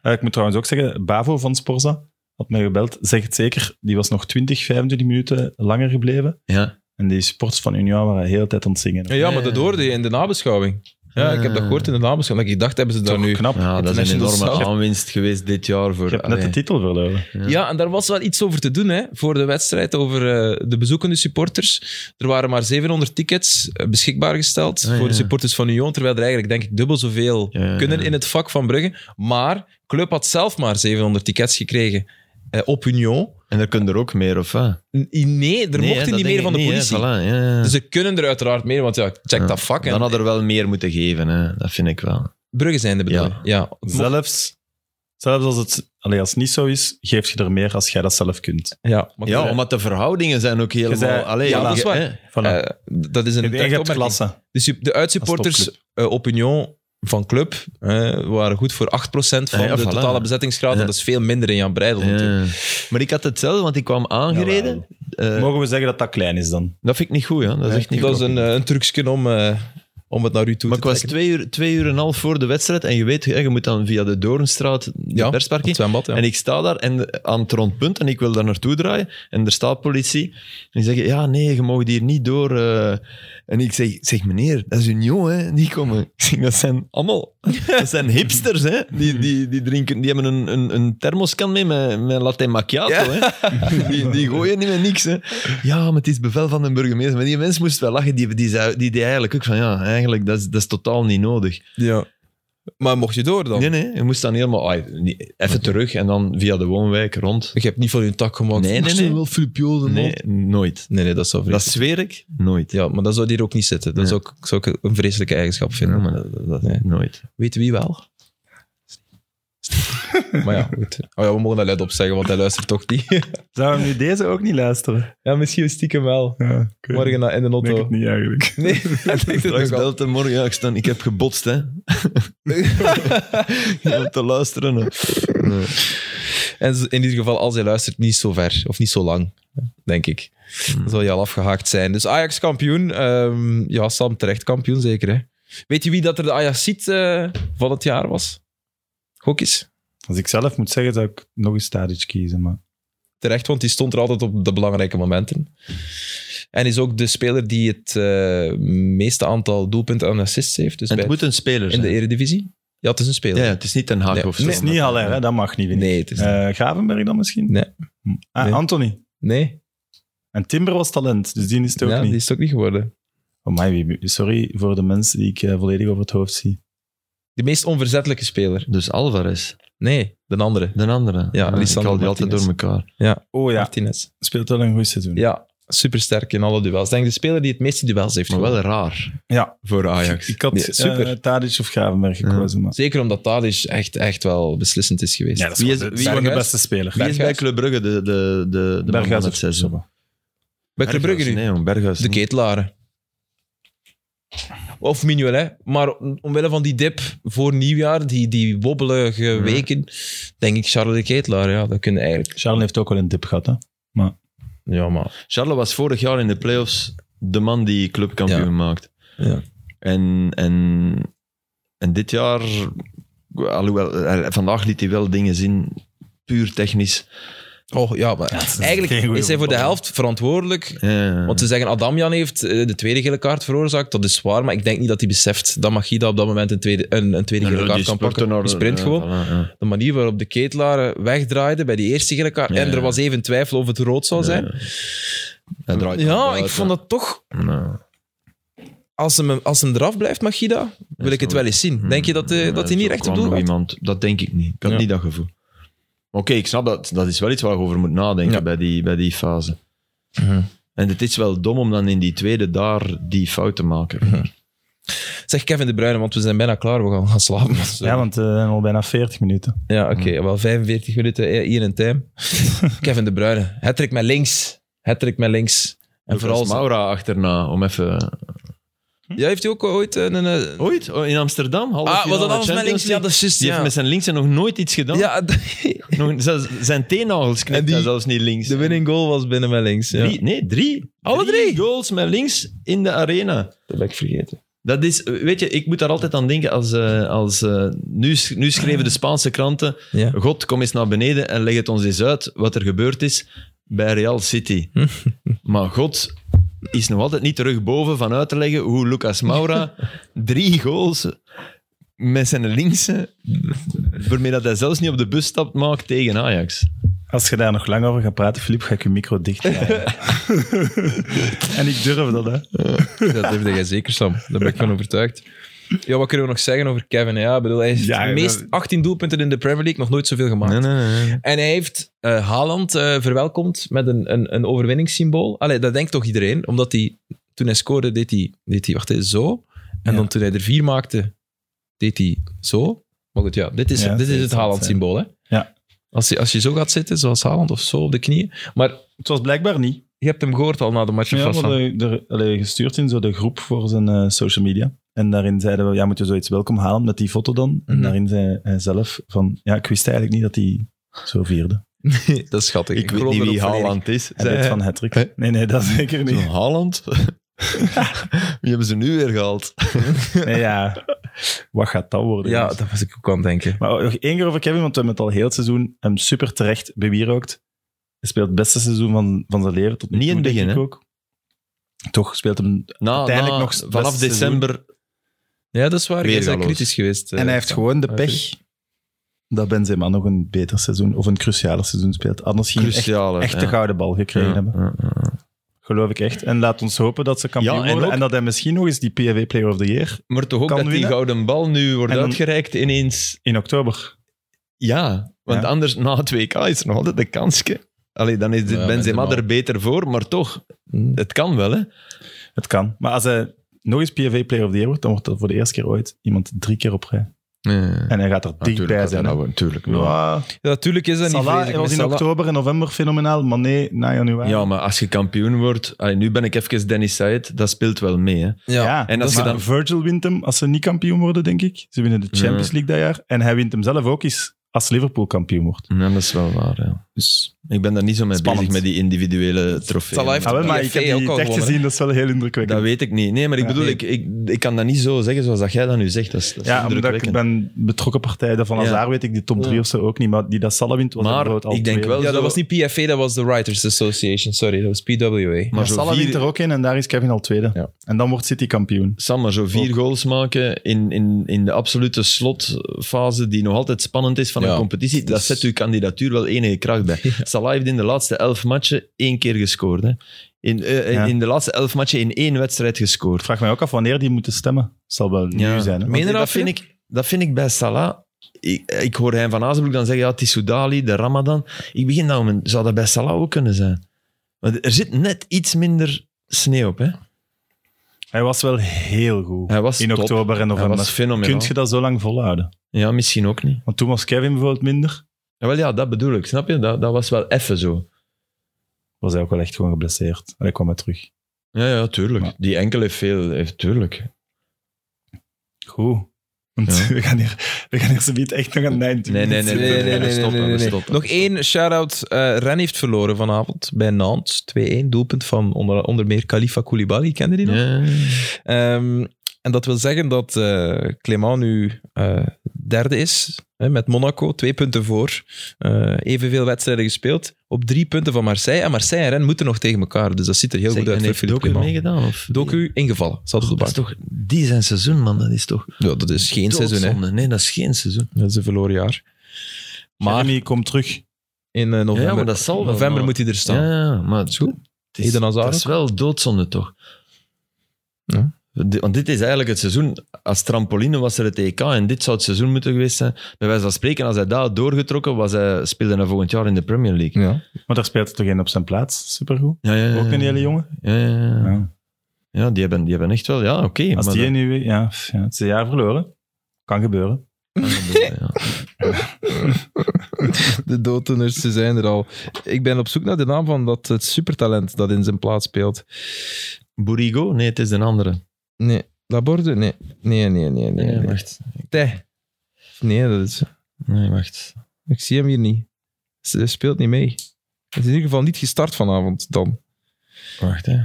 Eh, ik moet trouwens ook zeggen, Bavo van Sporza had mij gebeld. Zeg het zeker, die was nog 20, 25 minuten langer gebleven.
Ja.
En die supporters van Union waren heel de tijd aan het zingen.
Ja, ja, maar dat hoorde je in de nabeschouwing. Ja, ik heb
Ah.
dat gehoord in de nabeschouwing. Dat Ik dacht, hebben ze daar
Toch
nu...
knap.
ja, dat is een
International
enorme
Sound.
aanwinst geweest dit jaar. Voor,
Je hebt net de
allee.
titel verloren.
Ja.
Ja, en daar was wel iets over te doen hè, voor de wedstrijd, over eh, de bezoekende supporters. Er waren maar 700 tickets eh, beschikbaar gesteld
Ah,
voor de
ja.
supporters van Union, terwijl er eigenlijk denk ik dubbel zoveel
Ja, ja,
kunnen
ja.
in het vak van Brugge. Maar Club had zelf maar 700 tickets gekregen eh, op Union.
En er kunnen er ook meer, of wat?
N- Nee, er
Nee, hè,
mochten
dat
niet
denk
meer
ik
van de
niet, hè.
politie.
Voilà, ja, ja.
Dus ze kunnen er uiteraard meer, want ja, check
Ja,
dat vak. En
Dan had er wel meer moeten geven, hè. dat vind ik wel.
Brugge zijn de bedoeling. Ja.
Zelfs, zelfs als het allee, als het niet zo is, geef je er meer als jij dat zelf kunt.
ja, maar
Ja,
goed,
omdat de verhoudingen zijn ook helemaal...
zei-
allee,
Ja, dat is
je-
waar.
hè.
Voilà.
eh, dat is een
je hebt- je
terechte
hebt
opmerking.
klasse.
De, sup- de
Als
uitsupporters eh, op Union van club eh, waren goed voor 8% van
Ja, ja,
de
voilà.
totale bezettingsgraad.
Ja.
En dat is veel minder in Jan Breidel. natuurlijk.
Ja. Maar ik had hetzelfde, want ik kwam aangereden. Eh,
Mogen we zeggen dat dat klein is dan?
dat vind ik niet goed, hè. dat is echt niet
dat is
goed.
een, eh, een trucje om eh, om het naar u toe
Maar ik
te
was
trekken.
twee uur, twee uur en een half voor de wedstrijd en je weet, hè, je moet dan via de Doornstraat de
ja,
persparking.
het zwembad, ja.
En ik sta daar en, aan het rondpunt en ik wil daar naartoe draaien. En er staat politie. En die zeggen, ja, nee, je mag hier niet door. eh. En ik zeg, zeg meneer, dat is union, hè. Die komen. Ik zeg, dat zijn allemaal... Dat zijn hipsters, hè. Die, die, die, drinken, die hebben een, een, een thermoskan mee met, met latte macchiato, hè. Die, die gooien niet met niks, hè. Ja, maar het is bevel van de burgemeester. Maar die mens moest wel lachen. Die, die, zei, die deed eigenlijk ook van, ja, eigenlijk, dat is, dat is totaal niet nodig.
Ja. Maar mocht je door dan?
Nee, nee, je moest dan helemaal ah, niet- even terug en dan via de woonwijk rond.
Ik heb niet van hun tak gemaakt.
Nee, nee,
Moest
nee.
je wel Filip Joden, man?
Nee, nooit.
nee, nee, dat zou
Dat
vreselijk
zweer ik, nooit.
Ja, maar dat zou hier ook niet zitten. Dat
Nee.
zou, ik, zou ik een vreselijke eigenschap vinden.
Ja, maar
nee.
Nooit.
Weet wie wel? maar ja, goed. Oh ja, we mogen dat let op zeggen, want hij luistert toch niet.
Zouden we nu deze ook niet luisteren?
ja, misschien stiekem wel.
Ja, ik weet
Morgen na- in de
Ik denk
auto.
het niet eigenlijk.
Nee, ik denk het
Straks
ook al.
belt hem morgen, ja, ik, sta, ik heb gebotst, hè. Om te luisteren. hè. Nee.
En z- in ieder geval, als hij luistert, niet zo ver. Of niet zo lang, denk ik. Dan zal hij al afgehaakt zijn. Dus Ajax kampioen. Ehm, ja, Sam terecht kampioen, zeker. Hè? Weet je wie dat er de Ajax ziet van het jaar was? Gokjes.
Als ik zelf moet zeggen, zou ik nog eens Tadic kiezen. Maar
terecht, want die stond er altijd op de belangrijke momenten. En is ook de speler die het eh, meeste aantal doelpunten en assists heeft. Dus
En
bij,
het moet een speler
in
zijn.
de Eredivisie? Ja, het is een
ja,
speler.
ja, het is niet een haak
Nee,
of zo.
nee,
het is niet Haller, hè? dat mag niet. vind ik.
Nee, het is niet.
Eh, Gravenberg dan misschien?
Nee.
Hm. Ah,
Nee.
Anthony.
Nee,
En Timber was talent, dus die is het ook
ja,
niet.
die is het ook niet geworden.
Oh my, wie- sorry voor de mensen die ik eh, volledig over het hoofd zie.
De meest onverzettelijke speler.
Dus Alvarez,
Nee, de andere.
de andere.
Lisandro
ik haal die altijd
Martinez.
door elkaar.
Oh ja,
Martinez.
speelt wel een goed seizoen.
Ja, supersterk in alle duels. Denk de speler die het meeste duels heeft.
Maar
gewonnen.
wel raar
Ja.
voor Ajax.
Ik had
Nee, super.
eh, Tadic of Gravenberg gekozen. Maar...
Zeker omdat Tadic echt, echt wel beslissend is geweest.
Ja, dat is,
Wie
wie
is-
is,
wie-
gewoon de
Berghuis?
beste speler.
Wie is bij
Berghuis?
Club Brugge de, de, de, de man van
Berghuis
het
of
seizoen?
Silva.
Bij Club Brugge nu.
Nee, jong, Berghuis.
De ketelaren. Of Mignolet. Maar om- omwille van die dip voor nieuwjaar, die, die wobbelige
Ja.
weken, denk ik Charles de Ketelaar. Ja, dat kunnen eigenlijk.
Charles heeft ook wel een dip gehad. Hè?
Ja, maar.
Charles was vorig jaar in de playoffs de man die clubkampioen
Ja.
maakt.
Ja.
En, en, en dit jaar, alhoewel, eh, vandaag liet hij wel dingen zien, puur technisch.
Oh, ja, maar
geen
eigenlijk
goeie
is hij voor de
voetballer.
helft verantwoordelijk.
Eh,
Want ze zeggen, Adamjan heeft eh, de tweede gele kaart veroorzaakt. Dat is waar, maar ik denk niet dat hij beseft dat Magida op dat moment een tweede, een, een tweede
en
gele
die
kaart kan
spurten
pakken.
naar-
Die sprint
eh,
gewoon.
voilà, ja.
De manier waarop de ketelaren wegdraaiden bij die eerste gele kaart.
Ja,
En
ja.
er was even twijfel of het rood zou zijn.
Ja. Hij draait
Ja,
eruit,
ik vond dat toch
ja. Nou,
als hem, als hem eraf blijft, Magida, wil ik het wel eens zien. Denk je dat, eh,
ja,
dat hij niet
zo
recht op
kwam
doel
nog
gaat?
iemand. Dat denk ik niet. Ik had
Ja.
niet dat gevoel. Maar Oké, ik snap dat. Dat is wel iets waar je over moet nadenken
Ja.
bij, die, bij die fase.
Mhm.
En het is wel dom om dan in die tweede daar die fout te maken.
Zeg Kevin De Bruyne, want we zijn bijna klaar. We gaan gaan slapen.
Ja, want eh, we zijn al bijna 40 minuten.
Ja, oké. Wel 45 minuten eh, hier in time. Kevin De Bruyne. Hattrick met links. Hattrick met links. En vooral... zijn-
Maura achterna, om even...
Ja, heeft hij ook ooit eh, een... een- een-
Ooit, oh, in Amsterdam, halve
ah, was
finale
Ah, dat alles met
Champions
links? Ja,
League.
dat is juist,
Die heeft
ja.
met zijn linkse nog nooit iets gedaan.
Ja,
Nog, zelfs zijn teennagels knipt
En die-
hij zelfs niet links.
de winning goal was binnen met links. Ja.
Drie, nee, drie.
Alle drie?
goals met links in de arena.
Dat ben ik vergeten.
Dat is, weet je, ik moet daar altijd aan denken als... eh, als eh, nu, sch- nu schreven de Spaanse kranten...
Ja.
God, kom eens naar beneden en leg het ons eens uit wat er gebeurd is bij Real City. maar God is nog altijd niet terug boven van uit te leggen hoe Lucas Moura drie goals met zijn linkse, waarmee dat hij zelfs niet op de bus stapt, maakt tegen Ajax.
Als je daar nog lang over gaat praten, Filip, ga ik je micro dicht. en ik durf dat, hè.
Dat durfde jij zeker, Sam. Daar ben ik van overtuigd. Ja, wat kunnen we nog zeggen over Kevin? Ja, ik bedoel, hij heeft
Ja,
de meest
dat-
18 doelpunten in de Premier League, nog nooit zoveel gemaakt.
nee, nee.
En hij heeft eh, Haaland eh, verwelkomd met een, een, een overwinningssymbool. Allee, dat denkt toch iedereen? Omdat hij, toen hij scoorde, deed hij, deed hij wacht, hè, zo. En
Ja.
dan toen hij er vier maakte, deed hij zo. Maar goed, ja, dit is,
Ja,
dit
dat
is
is
het
het,
Haaland-symbool, hè?
Ja.
Als je, als je zo gaat zitten, zoals Haaland, of zo op de knieën. Maar
Het was blijkbaar niet.
je hebt hem gehoord al na de match. of
Ja,
was
we
van-
hadden er, allee, gestuurd in zo de groep voor zijn eh, social media. En daarin zeiden we, ja, moet je zoiets welkom halen met die foto dan?
Mhm.
En daarin zei hij zelf van, ja, ik wist eigenlijk niet dat hij zo vierde.
dat is schattig.
Ik, weet niet
geloof
wie
erop volledig.
Haaland is.
Hij weet van Hattrick. Nee, nee, dat zeker niet.
Haaland? Wie hebben ze nu weer gehaald?
Nee, ja. Wat gaat dat worden?
Ja,
jongens?
dat was ik ook aan het denken.
Maar nog één keer over Kevin, want we hebben het al heel het seizoen hem super terecht bewierookt. Hij speelt het beste seizoen van, van zijn leven tot nu
Niet
toe,
in het
denk
begin,
ik ook. Toch speelt hem... eh,
Na,
Uiteindelijk
na-
nog het
vanaf
beste
december.
Ja, dat is waar.
Weer
Jij bent
galoos.
kritisch geweest. eh,
en hij heeft
Sam.
gewoon de
Ja,
pech Ah, dat Benzema nog een beter seizoen of een crucialer seizoen speelt. Anders ging hij echt,
Cruciale.
echt de
ja.
gouden bal gekregen
Ja,
hebben.
ja, ja.
Geloof ik echt. En laat ons hopen dat ze kampioen
Ja, en
worden
ook-
en dat hij misschien nog eens die PAW Player of the Year
Maar toch ook
Kan
dat die
winnen.
gouden bal nu wordt
En dan-
uitgereikt ineens.
in oktober.
Ja, want
Ja.
anders na het WK is er nog altijd een kansje. Allee, dan is dit
Ja,
Benzema
Benzema.
er beter voor, maar toch, het kan wel, hè?
Het kan. Maar als hij nog eens PAW Player of the Year wordt, dan wordt dat voor de eerste keer ooit iemand drie keer op rij. En hij gaat er dichtbij zijn. hè.
natuurlijk.
Ja,
Ja, natuurlijk is dat niet
Salah
vreselijk.
was
met
in
Salah.
oktober en november fenomenaal, maar nee, na januari.
Ja, maar als je kampioen wordt... Allee, nu ben ik even Dennis Said, dat speelt wel mee. Hè.
Ja.
Ja,
En als
maar
ze dan-
Virgil wint hem als ze niet kampioen worden, denk ik. Ze winnen de Champions League dat jaar. En hij wint hem zelf ook eens als Liverpool kampioen wordt.
Ja, dat is wel waar, ja. Dus ik ben daar niet zo mee
Spannend.
bezig met die individuele trofee.
Salah heeft
Ah, wel,
IFA
maar
E
ik heb die
ook al
echt
gewonnen,
gezien, dat is wel heel
Dat
indrukwekkend.
weet ik niet. Nee, maar ik
Ja,
bedoel,
nee.
ik, ik, ik kan dat niet zo zeggen zoals dat jij dat nu zegt. Dat is, dat is
Ja, omdat ik
indrukwekkend.
ben betrokken partij. Dat van
Ja.
Hazard weet ik, die top 3 of zo ook niet. Maar die dat Salah wint, was
Maar
bijvoorbeeld al
ik denk
twee.
wel-
Ja,
Zo-
dat was niet PFA, dat was de Writers Association. Sorry, dat was PWA.
Maar zo
ja, Salah
vier-
wint er ook in en daar is Kevin al tweede.
Ja.
En dan wordt City kampioen.
Sam, maar zo vier
Ook.
goals maken in, in, in de absolute slotfase, die nog altijd spannend is van
Ja.
een competitie, dat
Dus-
zet uw kandidatuur wel enige kracht bij. Salah heeft in de laatste elf matchen één keer gescoord. Hè. In, eh,
Ja.
in de laatste elf matchen in één wedstrijd
Ik
gescoord.
vraag mij ook af wanneer die moeten stemmen. Het zal wel nu zijn. Hè?
Meen je
Want
dat,
dat, vind
Phil?
ik, dat vind ik bij Salah... Ik, ik hoor Hein van Azenbroek dan zeggen, ja, het is Soudali, de Ramadan. Ik begin dan, met, zou dat bij Salah ook kunnen zijn? Want er zit net iets minder sneeuw op. Hè.
Hij was wel heel goed.
Hij was
in
top.
oktober en
Hij
november.
was fenomenaal.
Kun je dat zo lang volhouden?
Ja, misschien ook niet.
Want toen was Kevin bijvoorbeeld minder.
Ja, wel, ja, dat bedoel ik. Snap je? Dat, dat was wel even zo.
Was hij ook wel echt gewoon geblesseerd. En hij kwam maar terug.
Ja, ja, tuurlijk.
Ja.
Die enkel heeft veel, heeft, tuurlijk.
Goed. Want
Ja.
we gaan hier, we gaan hier zo echt nog aan 19
Nee, nee,
Nee, nee, nee, nee, nee,
Stoppen,
nee, nee, nee.
stoppen.
Nog één shout-out. Eh, Ren heeft verloren vanavond bij Nantes. 2-1, doelpunt van onder, onder meer Khalifa Koulibaly. Kende die nog?
Ja.
Ehm, en dat wil zeggen dat eh Clément nu eh, derde is hè, met Monaco, twee punten voor. Eh, evenveel wedstrijden gespeeld, op drie punten van Marseille. En Marseille en Rennes moeten nog tegen elkaar, dus dat ziet er heel
Zeg,
goed uit
en
voor
heeft
Philippe
Doku
Clément.
meegedaan? Of?
Doku ingevallen, zat op de
Dat is
bank.
toch, die zijn seizoen, man. Dat is toch
Ja, dat is geen seizoen, hè.
doodzonde. Nee, dat is geen seizoen.
dat is een verloren jaar. Maar
Jeremy komt terug.
in eh, november,
Ja, maar dat zal wel,
november
maar-
moet hij er staan.
Ja, ja, maar het is goed. Het is,
Eden Hazard
dat is wel doodzonde, toch?
Ja.
Di- Want dit is eigenlijk het seizoen. Als trampoline was er het EK en dit zou het seizoen moeten geweest zijn. Bij wijze van spreken, als hij daar had doorgetrokken was, hij speelde hij volgend jaar in de Premier League.
Ja.
Maar daar speelt er toch één op zijn plaats. Supergoed.
Ja, ja, ja.
Ook een hele jongen.
Ja, ja, Eh, ja.
Ja.
Ja, die hebben, die hebben echt wel... Ja, oké.
Als
maar
die
dat-
nu weer... Ja, pff, ja, het is een jaar verloren. Kan gebeuren.
ja.
De dooddoeners, ze zijn er al. Ik ben op zoek naar de naam van dat het supertalent dat in zijn plaats speelt.
Burigo? Nee, het is een andere.
Nee, Laborde? Nee, nee, nee, nee. nee, nee.
wacht.
Tij. Nee, dat is...
Nee, wacht.
Ik zie hem hier niet. Ze speelt niet mee. Het is in ieder geval niet gestart vanavond dan.
Wacht, hè.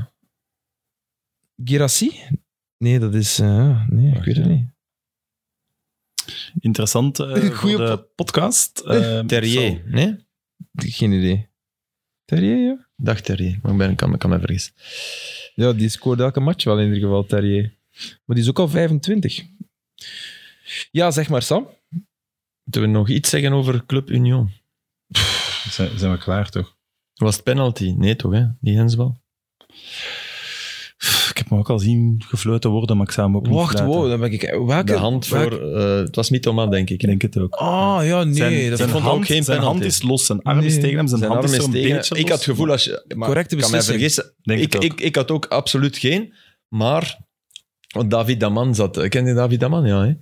Girassi? Nee, dat is... eh, nee, ik
Wacht,
weet het
ja.
niet.
Interessant eh,
Goeie
voor de podcast. Eh,
Terrier.
zo.
Nee?
Geen idee. Terrier, ja?
Dag Terrier. Maar ik ben, kan, me- kan me vergissen.
Ja, die scoort elke match wel in ieder geval, Terrier. Maar die is ook al 25. Ja, zeg maar, Sam.
Moeten we nog iets zeggen over Club Union?
Zijn, zijn we klaar, toch?
Was het penalty? Nee, toch, hè? Die hensbal.
Pff, Ik heb me ook al zien gefloten worden, maar ik zou hem ook niet
Wacht,
fluiten.
wow, dan ben ik... Welke?
De hand voor...
welke-
eh, het was Mitoma, denk ik.
Ik denk het ook.
Ah, ja, nee.
zijn,
dat
zijn
ik vond
hand,
ook geen
zijn hand
penalty.
is los, zijn arm is
Nee.
tegen hem, zijn,
Zijn
hand
arm
is
is
zo'n
tegen.
beetje
Ik
los.
had het gevoel als je... maar
Correcte
ik kan mij
beslissing.
vergissen.
Denk
Ik,
het ook.
ik, ik had ook absoluut geen. Maar... Want David Daman zat... Ken je David Daman? Ja, hè?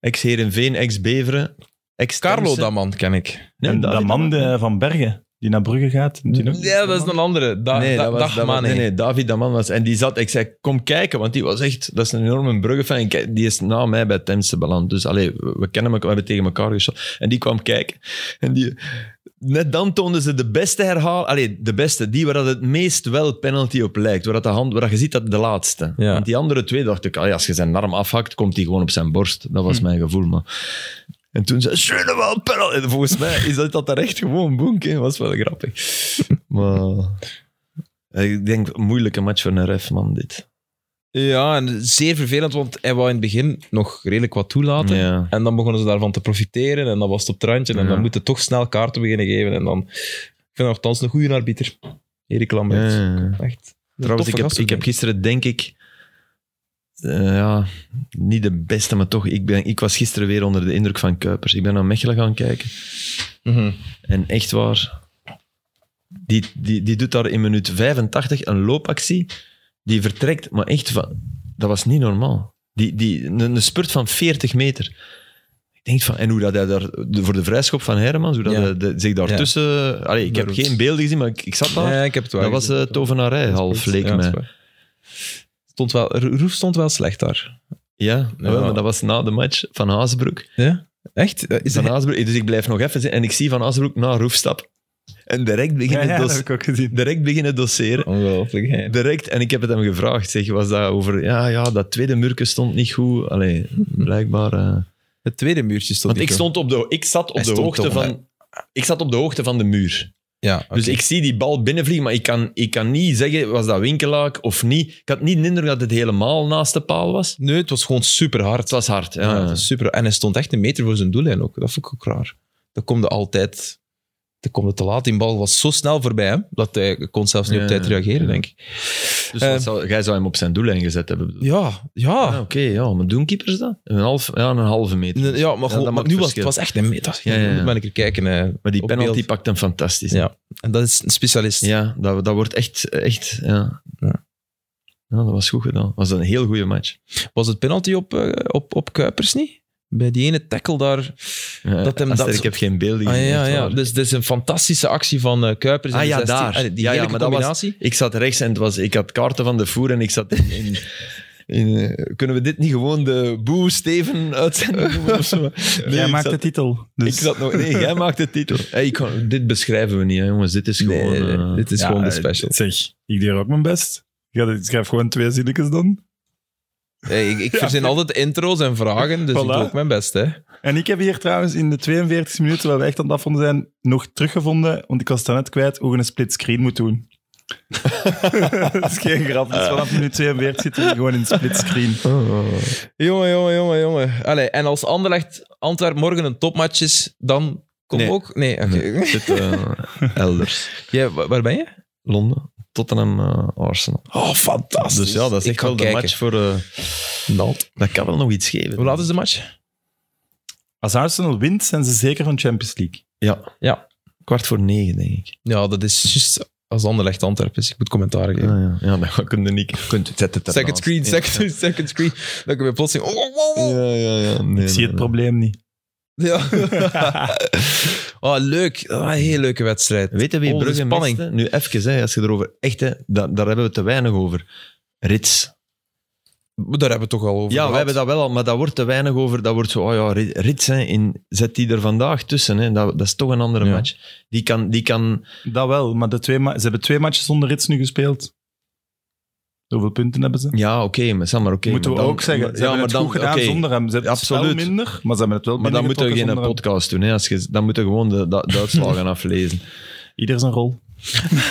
Ex-Herenveen, ex-Beveren, ex
Carlo, dat man, ken ik.
Nee,
en
David
dat man
Daman.
eh, van Bergen, die naar Brugge gaat. die nog-
Ja, dat is een andere. Da,
nee,
da-
dat was,
dag,
dat was-
man,
nee,
hè.
nee, David Daman was... En die zat... Ik zei, kom kijken, want die was echt... Dat is een enorme Brugge-fan. Kijk, Die is na mij bij Temse beland. Dus allee, we, we kennen elkaar, we hebben tegen elkaar geschoten. En die kwam kijken. En die... net dan toonden ze de beste herhaal. Allee, de beste, die waar dat het meest wel penalty op lijkt. Waar, dat de hand, waar dat je ziet dat de laatste.
Ja.
Want die andere twee dacht ik, allee, als je zijn arm afhakt, komt hij gewoon op zijn borst. Dat was
Hm.
mijn gevoel. Maar... En toen zei ze, wel penalty. En Volgens mij is dat, dat daar echt gewoon boenk. Dat was wel grappig. maar eh, ik denk, moeilijke match voor een ref, man, dit.
Ja, en zeer vervelend, want hij wou in het begin nog redelijk wat toelaten.
Ja.
En dan begonnen ze daarvan te profiteren en dan was het op het randje. En
Ja.
dan moeten toch snel kaarten beginnen geven. En dan, ik vind althans een goede arbiter. Erik Lambert.
Ja, ja,
Echt.
ja.
een
Trouwens,
toffe
ik heb,
gast,
ik heb
denk
gisteren denk ik... eh, ja, niet de beste, maar toch. Ik, ben, ik was gisteren weer onder de indruk van Kuipers. Ik ben naar Mechelen gaan kijken.
Mhm.
En echt waar, die, die, die doet daar in minuut 85 een loopactie. Die vertrekt, maar echt, van, dat was niet normaal. Die, die, een, een spurt van 40 meter. Ik denk van, en hoe dat hij daar, de- voor de vrijschop van Hermans, hoe dat
Ja.
hij de- zich daartussen... Allee, ik heb
Beroemd.
geen beelden gezien, maar ik, ik zat daar.
Ja, ik heb het wel
dat was
gezien.
eh tovenarij, half, leek
Ja, dat is
mij.
waar. Stond wel, Ro- Roef stond wel slecht daar.
Ja,
Ja.
wel, maar dat was na de match van Haasbroek.
Ja? Echt? Eh, Is
Van
dat...
Haasbroek dus ik blijf nog even zitten en ik zie Van Haasbroek naar Roef stap. En direct
Ja,
beginnen,
ja, dat
dos-
heb ik ook gezien.
direct beginnen doseren.
Ongelooflijk. hè.
Direct, en ik heb het hem gevraagd, zeg, was dat over... Ja, ja, dat tweede murken stond niet goed. Allee, blijkbaar... eh.
Het tweede muurtje stond
Want ik,
niet goed.
stond op de, ik zat op
Hij
de
stond
hoogte
toch,
van... Ik zat op de hoogte van de muur.
Ja, oké.
Dus ik zie die bal binnenvliegen, maar ik kan, ik kan niet zeggen, was dat winkelaak of niet. Ik had niet de indruk dat het helemaal naast de paal was.
Nee, het was gewoon super hard.
Het was hard, ja. dus-
Ja, dat is super. En hij stond echt een meter voor zijn doellijn ook. Dat vond ik ook raar. Dat komde altijd dat komde te laat. Die bal was zo snel voorbij hem, dat hij kon zelfs niet
Ja,
op tijd reageren,
ja.
denk ik.
Dus
Eh.
wat zou, jij zou hem op zijn doellijn gezet hebben. bedoel ik.
Ja,
Ah,
ja.
oké, ja. Maar doen keepers dat? Een, half, ja, een halve meter.
Ja, maar, gewoon,
dat
maar
maakt
nu was
verschil.
het was echt een meter.
Ja, ja, ja.
Moet maar een keer kijken. hè.
maar die
op
penalty
beeld.
pakt hem fantastisch.
Ja. En dat is een specialist.
Ja, dat, dat wordt echt... echt ja.
Ja.
Ja. dat was goed gedaan. Dat was een heel goede match.
Was het penalty op, eh, op, op Kuipers niet? Bij die ene tackle daar.
Ja,
Dat hem
Aster,
dat-
Ik heb geen beelden
Ah,
gezien.
ja,
echt
ja.
waar.
Dus, dus een fantastische actie van eh, Kuipers. in
Ah,
de
ja,
16.
daar.
Allee, die
Ja, ja,
heerlijke
maar dat was-
combinatie.
Ik zat rechts en het was, ik had kaarten van de voer en ik zat in... in in, eh, kunnen we dit niet gewoon de Boe Steven uitzenden? noemen of zo? Nee,
Jij
ik
maakt
zat-
de titel. Dus.
Ik zat nog, nee, jij maakt de titel. Hey, ik kan- dit beschrijven we niet, hè, jongens. Dit is gewoon...
Nee, nee, nee.
eh,
dit is
Ja,
gewoon de
eh,
special.
Zeg, ik deed ook mijn best. Ik ga- Ik schrijf gewoon twee zinnetjes dan.
Hey, ik, ik verzin altijd intro's en vragen, dus
Voilà.
ik doe ook mijn best. Hè.
En ik heb hier trouwens in de 42 minuten waar we echt aan het afvonden zijn, nog teruggevonden, want ik was daarnet kwijt hoe je een split screen moet doen. dat is geen grap. Dus
Eh.
vanaf minuut 42 zitten we gewoon in split screen.
oh, Jongen, jongen, jongen, jongen. Allee, en als Anderlecht Antwerp morgen een topmatch is, dan kom
Nee.
ook... Nee, oké.
Nee, zit eh, elders.
Jij, wa- waar ben je?
Londen, Tottenham, eh, Arsenal.
Oh, fantastisch.
Dus ja, dat is
Ik
echt
ga
wel de
kijken. Nou.
match voor... eh, dat kan wel nog iets geven.
Hoe laat is de match?
Als Arsenal wint, zijn ze zeker van Champions League.
Ja.
Ja.
Kwart voor negen, denk ik.
Ja, dat is juist als Anderlecht Antwerp is. Ik moet commentaar geven.
Ja, Ah, ja. ja dat kun je niet. Kunt, zet het
Second screen, second, second screen. Dan kun je plotseling... Oh, oh, oh.
Ja, ja, ja. Nee,
ik zie het probleem niet.
Ja. oh, leuk. Ah, een heel leuke wedstrijd.
Weet je wie
Oh, de
Brugge
spanning.
miste? Nu even, hè, als je erover... Echt, hè, da- daar hebben we te weinig over. Rits.
Daar hebben we het toch al over
Ja,
gehad.
we hebben dat wel al, maar daar wordt te weinig over. Dat wordt zo, oh ja, Ri- Rits, hè, in, zet die er vandaag tussen. Hè, dat, dat is toch een andere
Ja.
match. Die kan, die kan...
Dat wel, maar de twee ma- ze hebben twee matches zonder rits nu gespeeld. Hoeveel punten hebben ze?
Ja, oké, maar, zeg maar oké.
Moeten we
maar dan-
ook zeggen. Ze hebben het goed gedaan
oké.
zonder hem. Ze hebben het spel
Absoluut.
minder, maar ze hebben het wel
Maar dan moeten we
binnengetrokken
geen
zonder hem.
podcast doen. Hè, als je, dan moeten we gewoon de, de, de uitslagen aflezen.
Ieder zijn rol.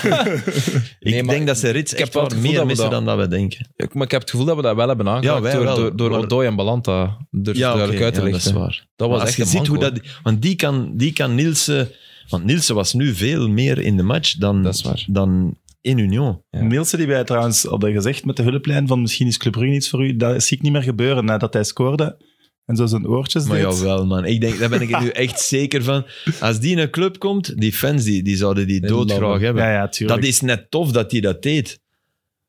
Ik
Nee, maar
denk dat ze Rits
ik heb
echt
wel
wel
het gevoel
meer
dat we
missen
dat-
dan dat we denken.
Ik- Maar ik heb het gevoel dat we dat wel hebben aangepakt
Ja, wij
door,
wel,
door, door
maar-
Odoi en Balanta er duidelijk
oké,
uit te
ja,
lichten.
dat is waar.
Dat was
Maar
echt
als je
een
ziet hoe
manco.
dat... Want die kan, die kan Nielsen... Want Nielsen was nu veel meer in de match dan,
Dat is waar.
dan in Union.
Ja.
Nielsen, die wij trouwens hadden gezegd met de hulplijn van misschien is Club Brugge iets voor u, dat zie ik niet meer gebeuren nadat hij scoorde en zo zijn oortjes
Maar
deed.
jawel, man. Ik denk, daar ben ik er nu echt zeker van. Als die in een club komt, die fans die, die zouden die
Die
doodgraag
labben.
hebben.
Ja, ja, tuurlijk.
dat is net tof dat hij dat deed.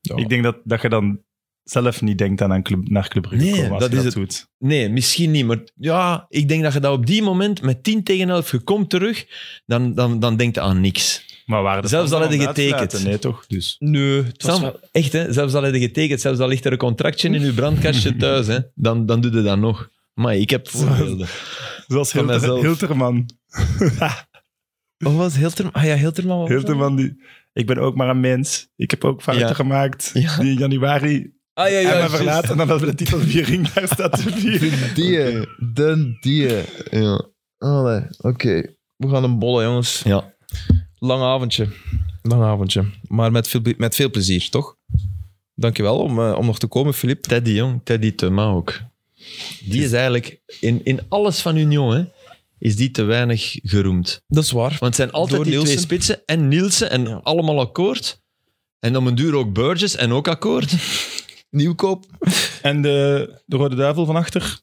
Ja.
Ik denk dat, dat je dan zelf niet denkt aan een club, naar Club Brugge
Nee,
komen als
dat
je
is
dat
het.
doet.
Nee, misschien niet. Maar ja, ik denk dat je dat op die moment met 10 tegen 11 je komt terug, dan, dan, dan denk je aan niks.
Maar waar de
Zelfs
fans
al hadden
dan
getekend.
uitsluiten, Nee, toch? Dus.
Nee, het was
Sam,
wel-
echt, hè? zelfs al heb je getekend, zelfs al ligt er een contractje in je brandkastje thuis, hè? Dan, dan doe je dat nog. Maar ik heb voorbeelden.
Zoals
Van
Hilter,
mijzelf.
Hilterman.
Wat was Hilterman? Ah ja, Hilterman. wat was dat?
Hilterman, die, ik ben ook maar een mens. Ik heb ook fouten
Ja.
gemaakt.
Ja.
Die in januari
Ah ja, ja.
en me
juist.
verlaten. En dan dat we de titel viering daar staat te vieren.
Die, de die. Ja. Allee, oké. We gaan hem bollen, jongens.
Ja.
Lang avondje. Lang avondje. Maar met veel, met veel plezier, toch? Dankjewel om, eh, om nog te komen, Filip.
Teddy, jong. Teddy Thuma ook. Die is eigenlijk in, in alles van Union, hè, is die te weinig geroemd.
Dat is waar.
Want het zijn altijd
Door
die
Nielsen.
twee spitsen en Nielsen en allemaal akkoord. En om een duur ook Burgess en ook akkoord.
Nieuwkoop.
En de, de Rode Duivel van achter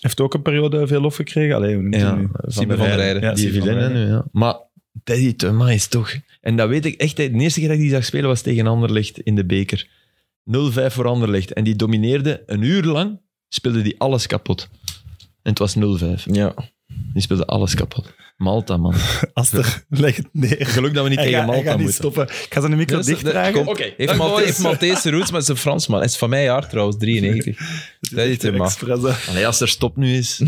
heeft ook een periode veel lof gekregen. Allee, hoe noemt hij
Ja,
nu?
Siebe van der Rijden.
Ja,
die
Siebe van
villain,
der
hè,
Rijden.
nu, ja. Maar Teddy Thuma is toch... En dat weet ik echt. hè, De eerste keer dat ik die zag spelen was tegen Anderlecht in de beker. 0-5 voor Anderlecht. En die domineerde een uur lang. Speelde die alles kapot. En het was 0-5.
Ja.
Die speelde alles kapot. Malta, man.
Aster, leg het neer.
Geluk dat we niet
Hij
tegen
gaat, hij
Malta
gaat niet
moeten.
stoppen. Ik ga ze de micro
Dus,
dicht
de-
dragen. Oh,
kom. Heeft, Malte, heeft Maltese roots, maar is een Fransman. Hij is van mijn jaar trouwens, 93. Dat is het, man.
Allee, als er stop nu is.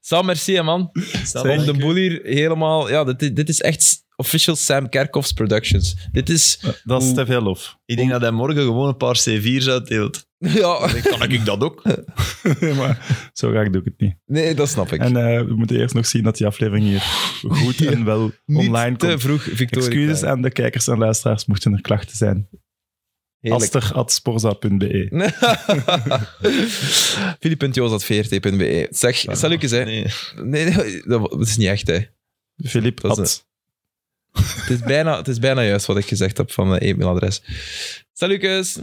Sam, merci, hè, man. Sam
Zeker.
de Boel hier helemaal... Ja, dit, dit is echt official Sam Kerkhoffs Productions. Dit is...
Dat is te veel lof.
Ik denk dat hij morgen gewoon een paar C4's uitdeelt.
Ja,
Dan kan ik dat ook.
maar zo graag doe ik het niet.
nee, dat snap ik.
En eh, we moeten eerst nog zien dat die aflevering hier goed en wel
Niet
online
te
komt.
vroeg, Victoria.
Excuses aan de kijkers en luisteraars mochten er klachten zijn.
Heerlijk.
Aster.sporza.be
Filip.joos.vrt.be E. Zeg, zal ik eens, hè. Nee,
Nee.
nee, dat, dat is niet echt, hè.
Filip,
Dat is
at-
Het is bijna, het is bijna juist wat ik gezegd heb van mijn e-mailadres. Salukes!